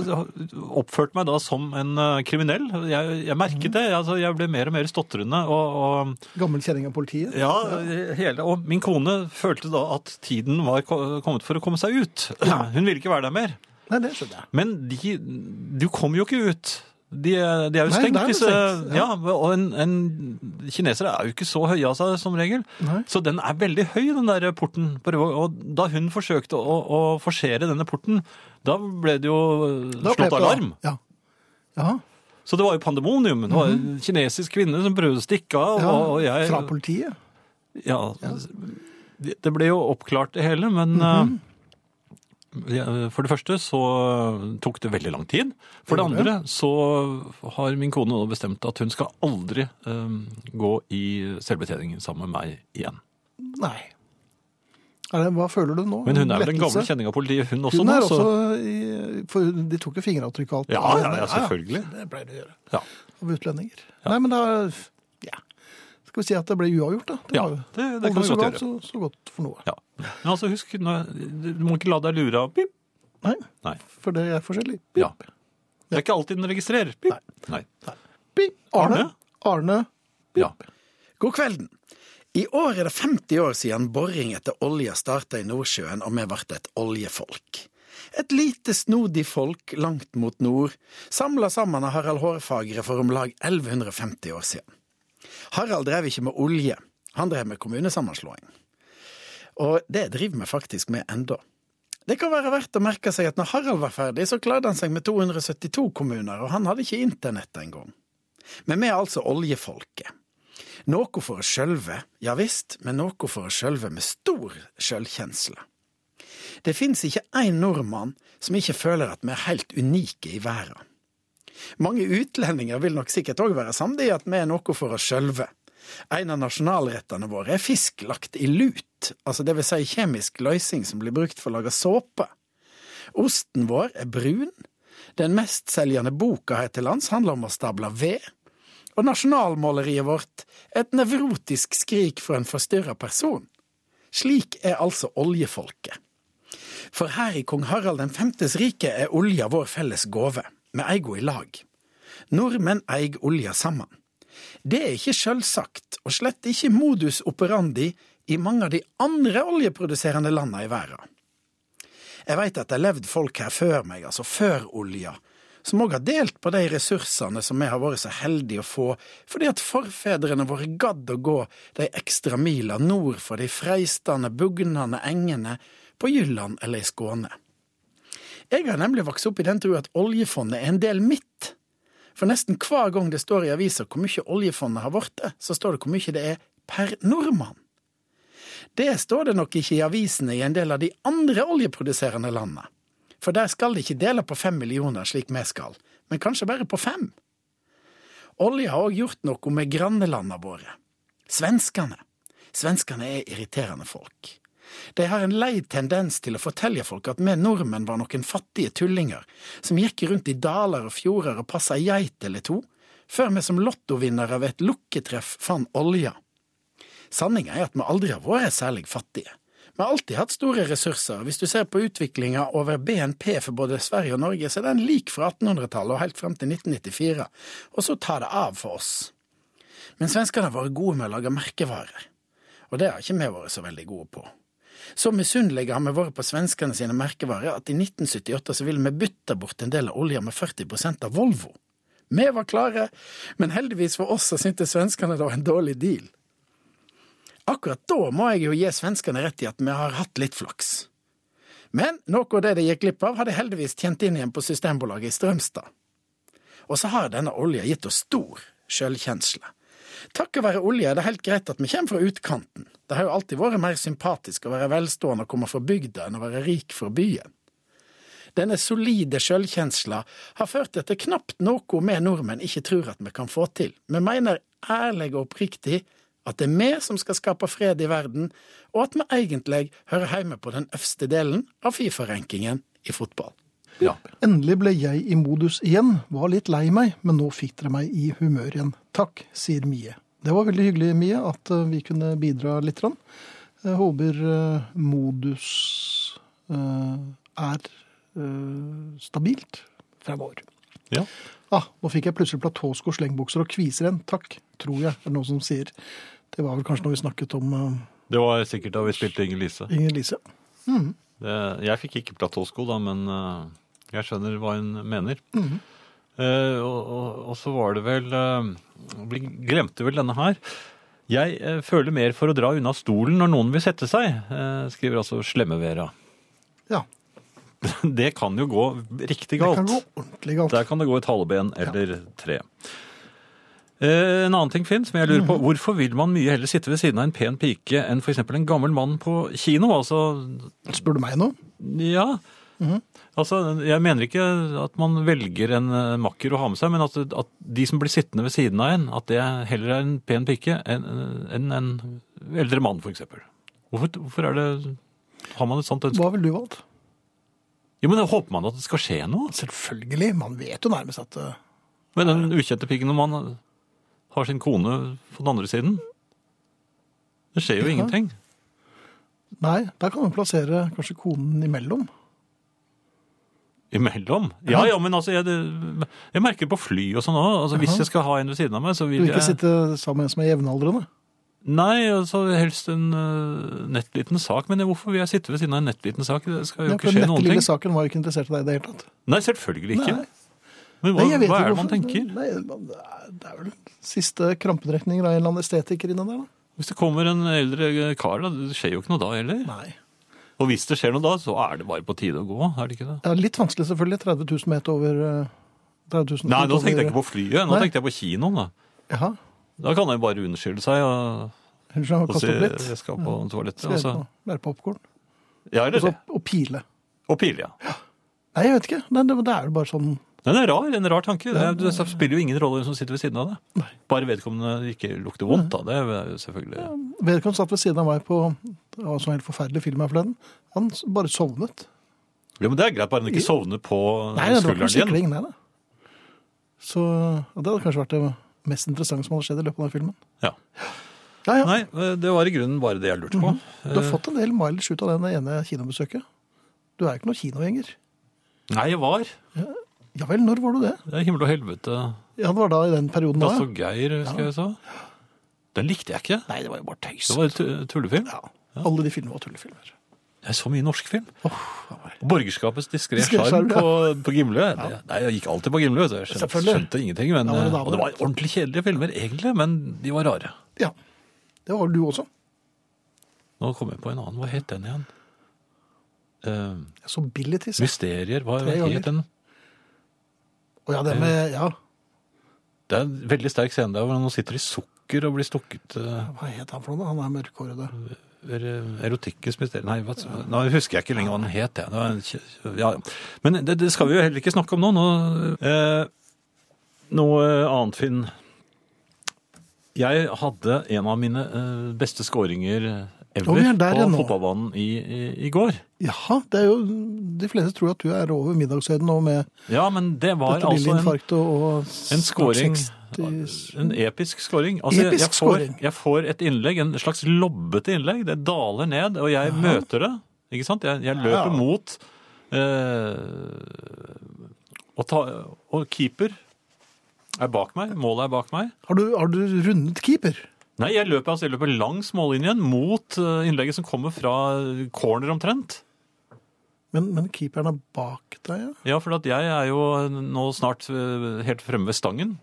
oppførte meg da som en eh, kriminell. Jeg, jeg merket det. Altså, jeg ble mer og mer stotrende. og... og
Gammel kjenning av politiet.
Ja, hele, og min kone følte da at tiden var ko- kommet for å komme seg ut. Hun ville ikke være der mer.
Nei, det skjønner jeg.
Men de, du kom jo ikke ut. De, er- de er jo
Nei,
stengt.
det er jo
disse,
stengt,
ja.
ja.
og en, en kineser er jo ikke så høy av seg som regel.
Nei.
Så den er veldig høy, den der porten. på Røvå. Og da hun forsøkte å, å forsere denne porten, da ble det jo eh,
Da pep
slått
det, da.
alarm.
Ja. ja.
Så det var jo pandemonium. Det var en kinesisk kvinne som prøvde å stikke av.
Mhm. ja.
og- Og jeg,
Fra politiet.
Ja, Det, det ble jo oppklart det hele, men
Mhm.
eh, ja, for det første så tok det veldig lang tid. For det
Det gjorde det.
andre så har min kone nå bestemt at hun skal aldri eh, gå i selvbetjening sammen med meg igjen.
Nei. Er det, hva føler du nå?
Men hun er vel en
Lettelse?
gammel kjenning av politiet, hun sånn også
Hun
nå.
er
Så,
også i, For de tok jo fingeravtrykk og alt.
Ja, ja, ja, selvfølgelig.
Det pleier de å gjøre.
ja.
Av utlendinger. Nei, men da ja. Skal vi si at det ble uavgjort, da?
Ja,
var jo-
det- det kan
aldri
vi
så
godt
galt, Så, så godt for noe.
ja. Men altså, husk, nå- du må ikke la deg lure av pip.
Nei,
Nei.
for det er forskjellig.
Ja. Det er ikke alltid den registrerer. Pip. Nei.
Pip. Arne. Arne.
Ja.
God kvelden. I år er det 50 år siden boring etter olje starta i Nordsjøen, og vi ble et oljefolk. Et lite, snodig folk langt mot nord, samla sammen av Harald Hårfagre for om lag 1150 år siden. Harald drev ikke med olje, han drev med kommunesammenslåing. Og det driver vi faktisk med enda. Det kan være verdt å merke seg at når Harald var ferdig, så klarte han seg med 272 kommuner, og han hadde ikke internett engang. Men vi er altså oljefolket. Noe for å sjølve, ja visst, men noe for å sjølve med stor sjølkjensle. Det fins ikke én nordmann som ikke føler at vi er helt unike i verden. Mange utlendinger vil nok sikkert òg være samde i at vi er noe for oss sjølve. En av nasjonalrettene våre er fisk lagt i lut, altså det vil si kjemisk løsning som blir brukt for å lage såpe. Osten vår er brun. Den mestselgende boka her til lands handler om å stable ved. Og nasjonalmåleriet vårt er et nevrotisk skrik fra en forstyrra person. Slik er altså oljefolket. For her i kong Harald den femtes rike er olja vår felles gave. Vi eier henne i lag. Nordmenn eier olja sammen. Det er ikke sjølsagt, og slett ikke modus operandi i mange av de andre oljeproduserende landene i verden. Jeg veit at det har levd folk her før meg, altså før olja, som òg har delt på de ressursene som vi har vært så heldige å få, fordi at forfedrene våre gadd å gå de ekstra mila nord for de freistende, bugnende engene på Jylland eller i Skåne. Jeg har nemlig vokst opp i den tro at oljefondet er en del mitt. For nesten hver gang det står i avisa hvor mye oljefondet har blitt, så står det hvor mye det er per nordmann. Det står det nok ikke i avisene i en del av de andre oljeproduserende landene. For der skal de ikke dele på fem millioner slik vi skal, men kanskje bare på fem. Olje har òg gjort noe med grannelandene våre. Svenskene. Svenskene er irriterende folk. De har en lei tendens til å fortelle folk at vi nordmenn var noen fattige tullinger som gikk rundt i daler og fjorder og passa ei geit eller to, før vi som lottovinnere ved et lukketreff fant olja. Sanninga er at vi aldri har vært særlig fattige. Vi har alltid hatt store ressurser, og hvis du ser på utviklinga over BNP for både Sverige og Norge, så er den lik fra 1800-tallet og helt fram til 1994, og så tar det av for oss. Men svenskene har vært gode med å lage merkevarer, og det har ikke vi vært så veldig gode på. Så misunnelige har vi vært på svenskene sine merkevarer at i 1978 så ville vi bytte bort en del av olja med 40 av Volvo. Vi var klare, men heldigvis for oss så syntes svenskene det var en dårlig deal. Akkurat da må jeg jo gi svenskene rett i at vi har hatt litt flaks. Men noe av det de gikk glipp av, hadde heldigvis tjent inn igjen på Systembolaget i Strømstad. Og så har denne olja gitt oss stor sjølkjensle. Takket være olje er det helt greit at vi kommer fra utkanten. Det har jo alltid vært mer sympatisk å være velstående og komme fra bygda enn å være rik fra byen. Denne solide sjølkjensla har ført til at det knapt noe vi nordmenn ikke tror at vi kan få til. Vi mener ærlig og oppriktig at det er vi som skal skape fred i verden, og at vi egentlig hører hjemme på den øverste delen av Fifa-rankingen i fotball.
Ja.
Endelig ble jeg i modus igjen. Var litt lei meg, men nå fikk dere meg i humør igjen. Takk, sier Mie. Det var veldig hyggelig, Mie, at eh, vi kunne bidra litt. grann. Jeg håper eh, modus eh, er eh, stabilt fremover.
ja.
Ah, nå fikk jeg plutselig platåsko, slengbukser og kviser igjen. Takk, tror jeg, er det noen som sier. Det var vel kanskje når vi snakket om eh,
Det var sikkert da vi spilte Inger Lise.
Inger Lise.
Det, jeg fikk ikke platåsko da, men eh, jeg skjønner hva hun mener.
Mhm.
Eh, og, og, og så var det vel eh, Vi glemte vel denne her. Jeg eh, føler mer for å dra unna stolen når noen vil sette seg, eh, skriver altså Slemmevera.
Ja,
Det kan jo gå riktig
det
galt.
kan gå ordentlig galt.
Der kan det gå et haleben eller tre. Eh, En annen ting, Finn, som jeg lurer
Mm.
på. Hvorfor vil man mye heller sitte ved siden av en pen pike enn f.eks. en gammel mann på kino? Altså,
Spør du meg nå?
ja.
Mm-hmm.
Altså, jeg mener ikke at man velger en eh, makker å ha med seg, men at, at de som blir sittende ved siden av en, at det heller er en pen pike enn enn en eldre mann, f.eks. Hvorfor, hvorfor er det Har man et sånt ønske?
Hva ville du valgt?
Jo, men da håper man at det skal skje noe. altså.
Selvfølgelig. Man vet jo nærmest at eh,
Men den ukjente piggen om han har sin kone på den andre siden Det skjer jo
Ja.
ingenting.
Nei, der kan man plassere kanskje konen imellom.
Imellom. Ja, ja, men altså, jeg, det- jeg merker på fly og sånn òg. Altså, hvis jeg skal ha en ved siden av meg, så
Du
vil
vil ikke
jeg
sitte sammen med en som er jevnaldrende.
Nei, altså helst en uh, nettliten sak. Men hvorfor vil jeg sitte ved siden av en nettliten sak? Det skal jo
Ja,
ikke
for den
skje noen
nette
ting.
lille saken var jo ikke interessert i deg i det hele tatt.
Nei, selvfølgelig ikke.
Nei.
Men hva,
Nei, jeg vet
hva
ikke
er det
hvorfor.
man tenker?
Nei, man- det er- det er vel siste krampetrekninger av en eller annen estetiker inne der, da.
Hvis det kommer en eldre kar, da, det skjer jo ikke noe da heller.
Nei.
Og hvis det skjer noe da, så er det bare på tide å gå, er det ikke det?
Det er litt vanskelig selvfølgelig, 30 000 meter over eh, 30 000
Nei, nå tenkte jeg ikke på flyet, nå
Nei.
tenkte jeg på kinoen, da.
Jaha,
Da kan jeg bare unnskylde seg og,
unnskyld, jeg har
og si
kastet opp litt.
jeg skal på toalettet.
Skal
Og,
jeg
så,
på- Være popcorn.
ja,
Og,
eller, det.
så- og pile.
og pil, ja.
Nei, jeg vet ikke. Nei, det, det er jo bare sånn
Den er rar, en rar tanke. Det, er- det spiller jo ingen rolle hvem som sitter ved siden av deg.
Nei.
Bare vedkommende ikke lukter vondt, da. Det er jo selvfølgelig
Vedkommende satt ved siden av meg på det var en sånn helt forferdelig film her forleden. Han s- bare sovnet.
Jo, men det er greit, bare den ikke sovner på
Nei, det var ikke noe
skulderen din.
sikring, nei da. Så ja, det hadde kanskje vært det mest interessante som hadde skjedd i løpet av den filmen.
Ja.
Ja, ja.
Nei, det var i grunnen bare det jeg lurte på.
Du har fått en del mileage ut av den ene kinobesøket. Du er jo ikke noen kinogjenger.
Nei, jeg var. Det
Ja vel, når var du det?
er himmel og helvete.
Ja, det var da i den perioden da.
Dass og Geir, husker jeg så. Den likte jeg ikke.
Nei, det var jo bare tøys.
Det var en tu- tullefilm.
Ja. Alle de filmene var tullefilmer.
Det er så mye norsk film.
Åh,
Borgerskapets diskré
Diskré sjarm,
sjarm
ja.
på, på Gimle. Det- Nei, jeg gikk alltid på Gimle. vet du. Jeg skjønte,
Selvfølgelig.
skjønte ingenting. Men, eh,
Da var det damer.
og det var ordentlig kjedelige filmer, egentlig, men de var rare.
ja. Det var du også.
Nå kom jeg på en annen. Hva het den igjen? Eh,
Jeg så Billy Tiss.
Mysterier. Hva
Tre ganger.
het den?
Å ja, det med Ja,
Det er en veldig sterk scene der hvor han sitter i sukker og blir stukket. eh,
hva het han for noe? Han er mørkhårede.
er- Erotikkens mysterier. Nei, hva, nå husker jeg ikke lenger hva den het. jeg. Det var en kje- Ja. ja. Men det, det skal vi jo heller ikke snakke om nå. nå eh, noe annet, Finn. Jeg hadde en av mine eh, beste skåringer ever
Å, vi er der
på
igjen nå.
fotballbanen i, i, i går.
Jaha, det er jo De fleste tror at du er over middagshøyden nå med
Ja, men det var
dette
altså en
billeinfarkt og, og
En scoring.
snart 60
En episk scoring. Altså,
Episk
jeg, får,
scoring.
jeg får et innlegg, en slags lobbete innlegg. Det daler ned, og jeg møter det. Ikke sant? Jeg, jeg
Ja.
løper mot eh, og, ta, og keeper er bak meg. Målet er bak meg.
Har du, har du rundet keeper?
Nei, jeg løper, altså, jeg løper langs mållinjen mot eh, innlegget som kommer fra corner omtrent.
Men, men keeperen er bak deg, ja?
Ja, for at jeg er jo nå snart eh, helt fremme ved stangen.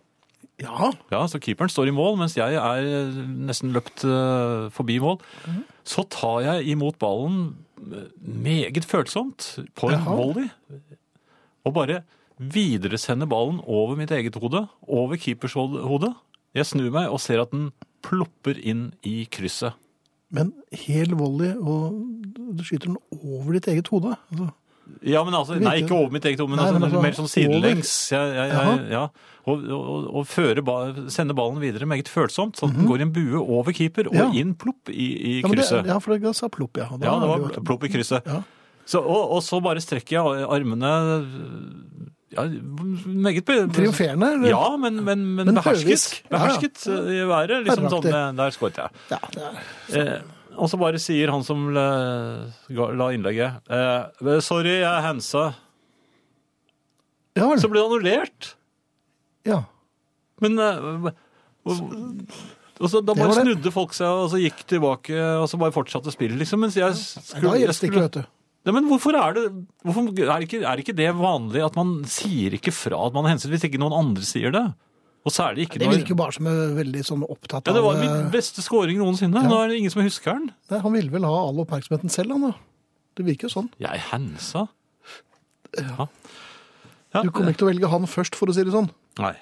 Ja.
Ja, så keeperen står i mål, mens jeg er nesten løpt eh, forbi mål.
Mhm.
Så tar jeg imot ballen eh, meget følsomt på en
Jaha.
volley. Og bare videresender ballen over mitt eget hode, over keepers hode- hode. Jeg snur meg og ser at den plopper inn i krysset.
Men hel volley, og du skyter den over ditt eget hode? Altså,
Ja, men altså,
Det
Nei,
virker-
ikke over mitt eget hode, men,
Nei,
altså,
men altså,
mer sånn sidelengs. Jeg, jeg, jeg,
Jaha.
ja. Og, og, og føre ba, sende ballen videre meget følsomt, sånn at den går i en bue over keeper og
Mhm. Ja.
inn plopp i, i
ja, men det,
krysset.
ja, for det sa plopp, ja. Da
Ja, det
er jo-
var plopp i krysset.
Ja.
Så, og, og så bare strekker jeg armene ja, meget be-
Triumferende? eller?
Ja, men, men, men,
Men
behersket.
høvisk. Ja, ja.
Behersket eh, i været. Liksom sånn,
Herreaktig.
eh, der skåret jeg.
Ja, det er-
Eh, og så bare sier han som la, ga- la innlegget eh, Sorry, jeg handsa.
ja
Så
vel.
ble det annullert.
Ja.
Men eh, og, og så, da
Det var
bare
det.
snudde folk seg, og så gikk tilbake, og så bare fortsatte spillet, liksom. Mens jeg
Da
skulle, jeg
gjelder det ikke,
skulle
vet du.
Nei, men hvorfor er det hvorfor er ikke, er ikke det vanlig at man sier ikke fra at man har hensikt, hvis ikke noen andre sier det? Og særlig ikke
Det
når
virker jo bare som eh, veldig sånn opptatt
ja,
av
Det var
eh,
min beste scoring noensinne. Nå er det ingen som husker den.
Nei, Han ville vel ha all oppmerksomheten selv, han da. Det virker jo sånn.
Jeg hensa. Ja. Ja,
Du kommer ikke til å velge han først, for å si det sånn.
Nei.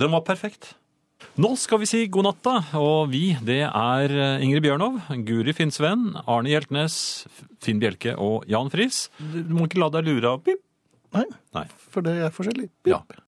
Den var perfekt. Nå skal vi si god natt, da. Og vi, det er eh, Ingrid Bjørnov, Guri Finnsven, Arne Hjeltnes, Finn Bjelke og Jan Friis. Du du må ikke la deg lure av pip.
Nei,
Nei.
for det er forskjellig.
Ja.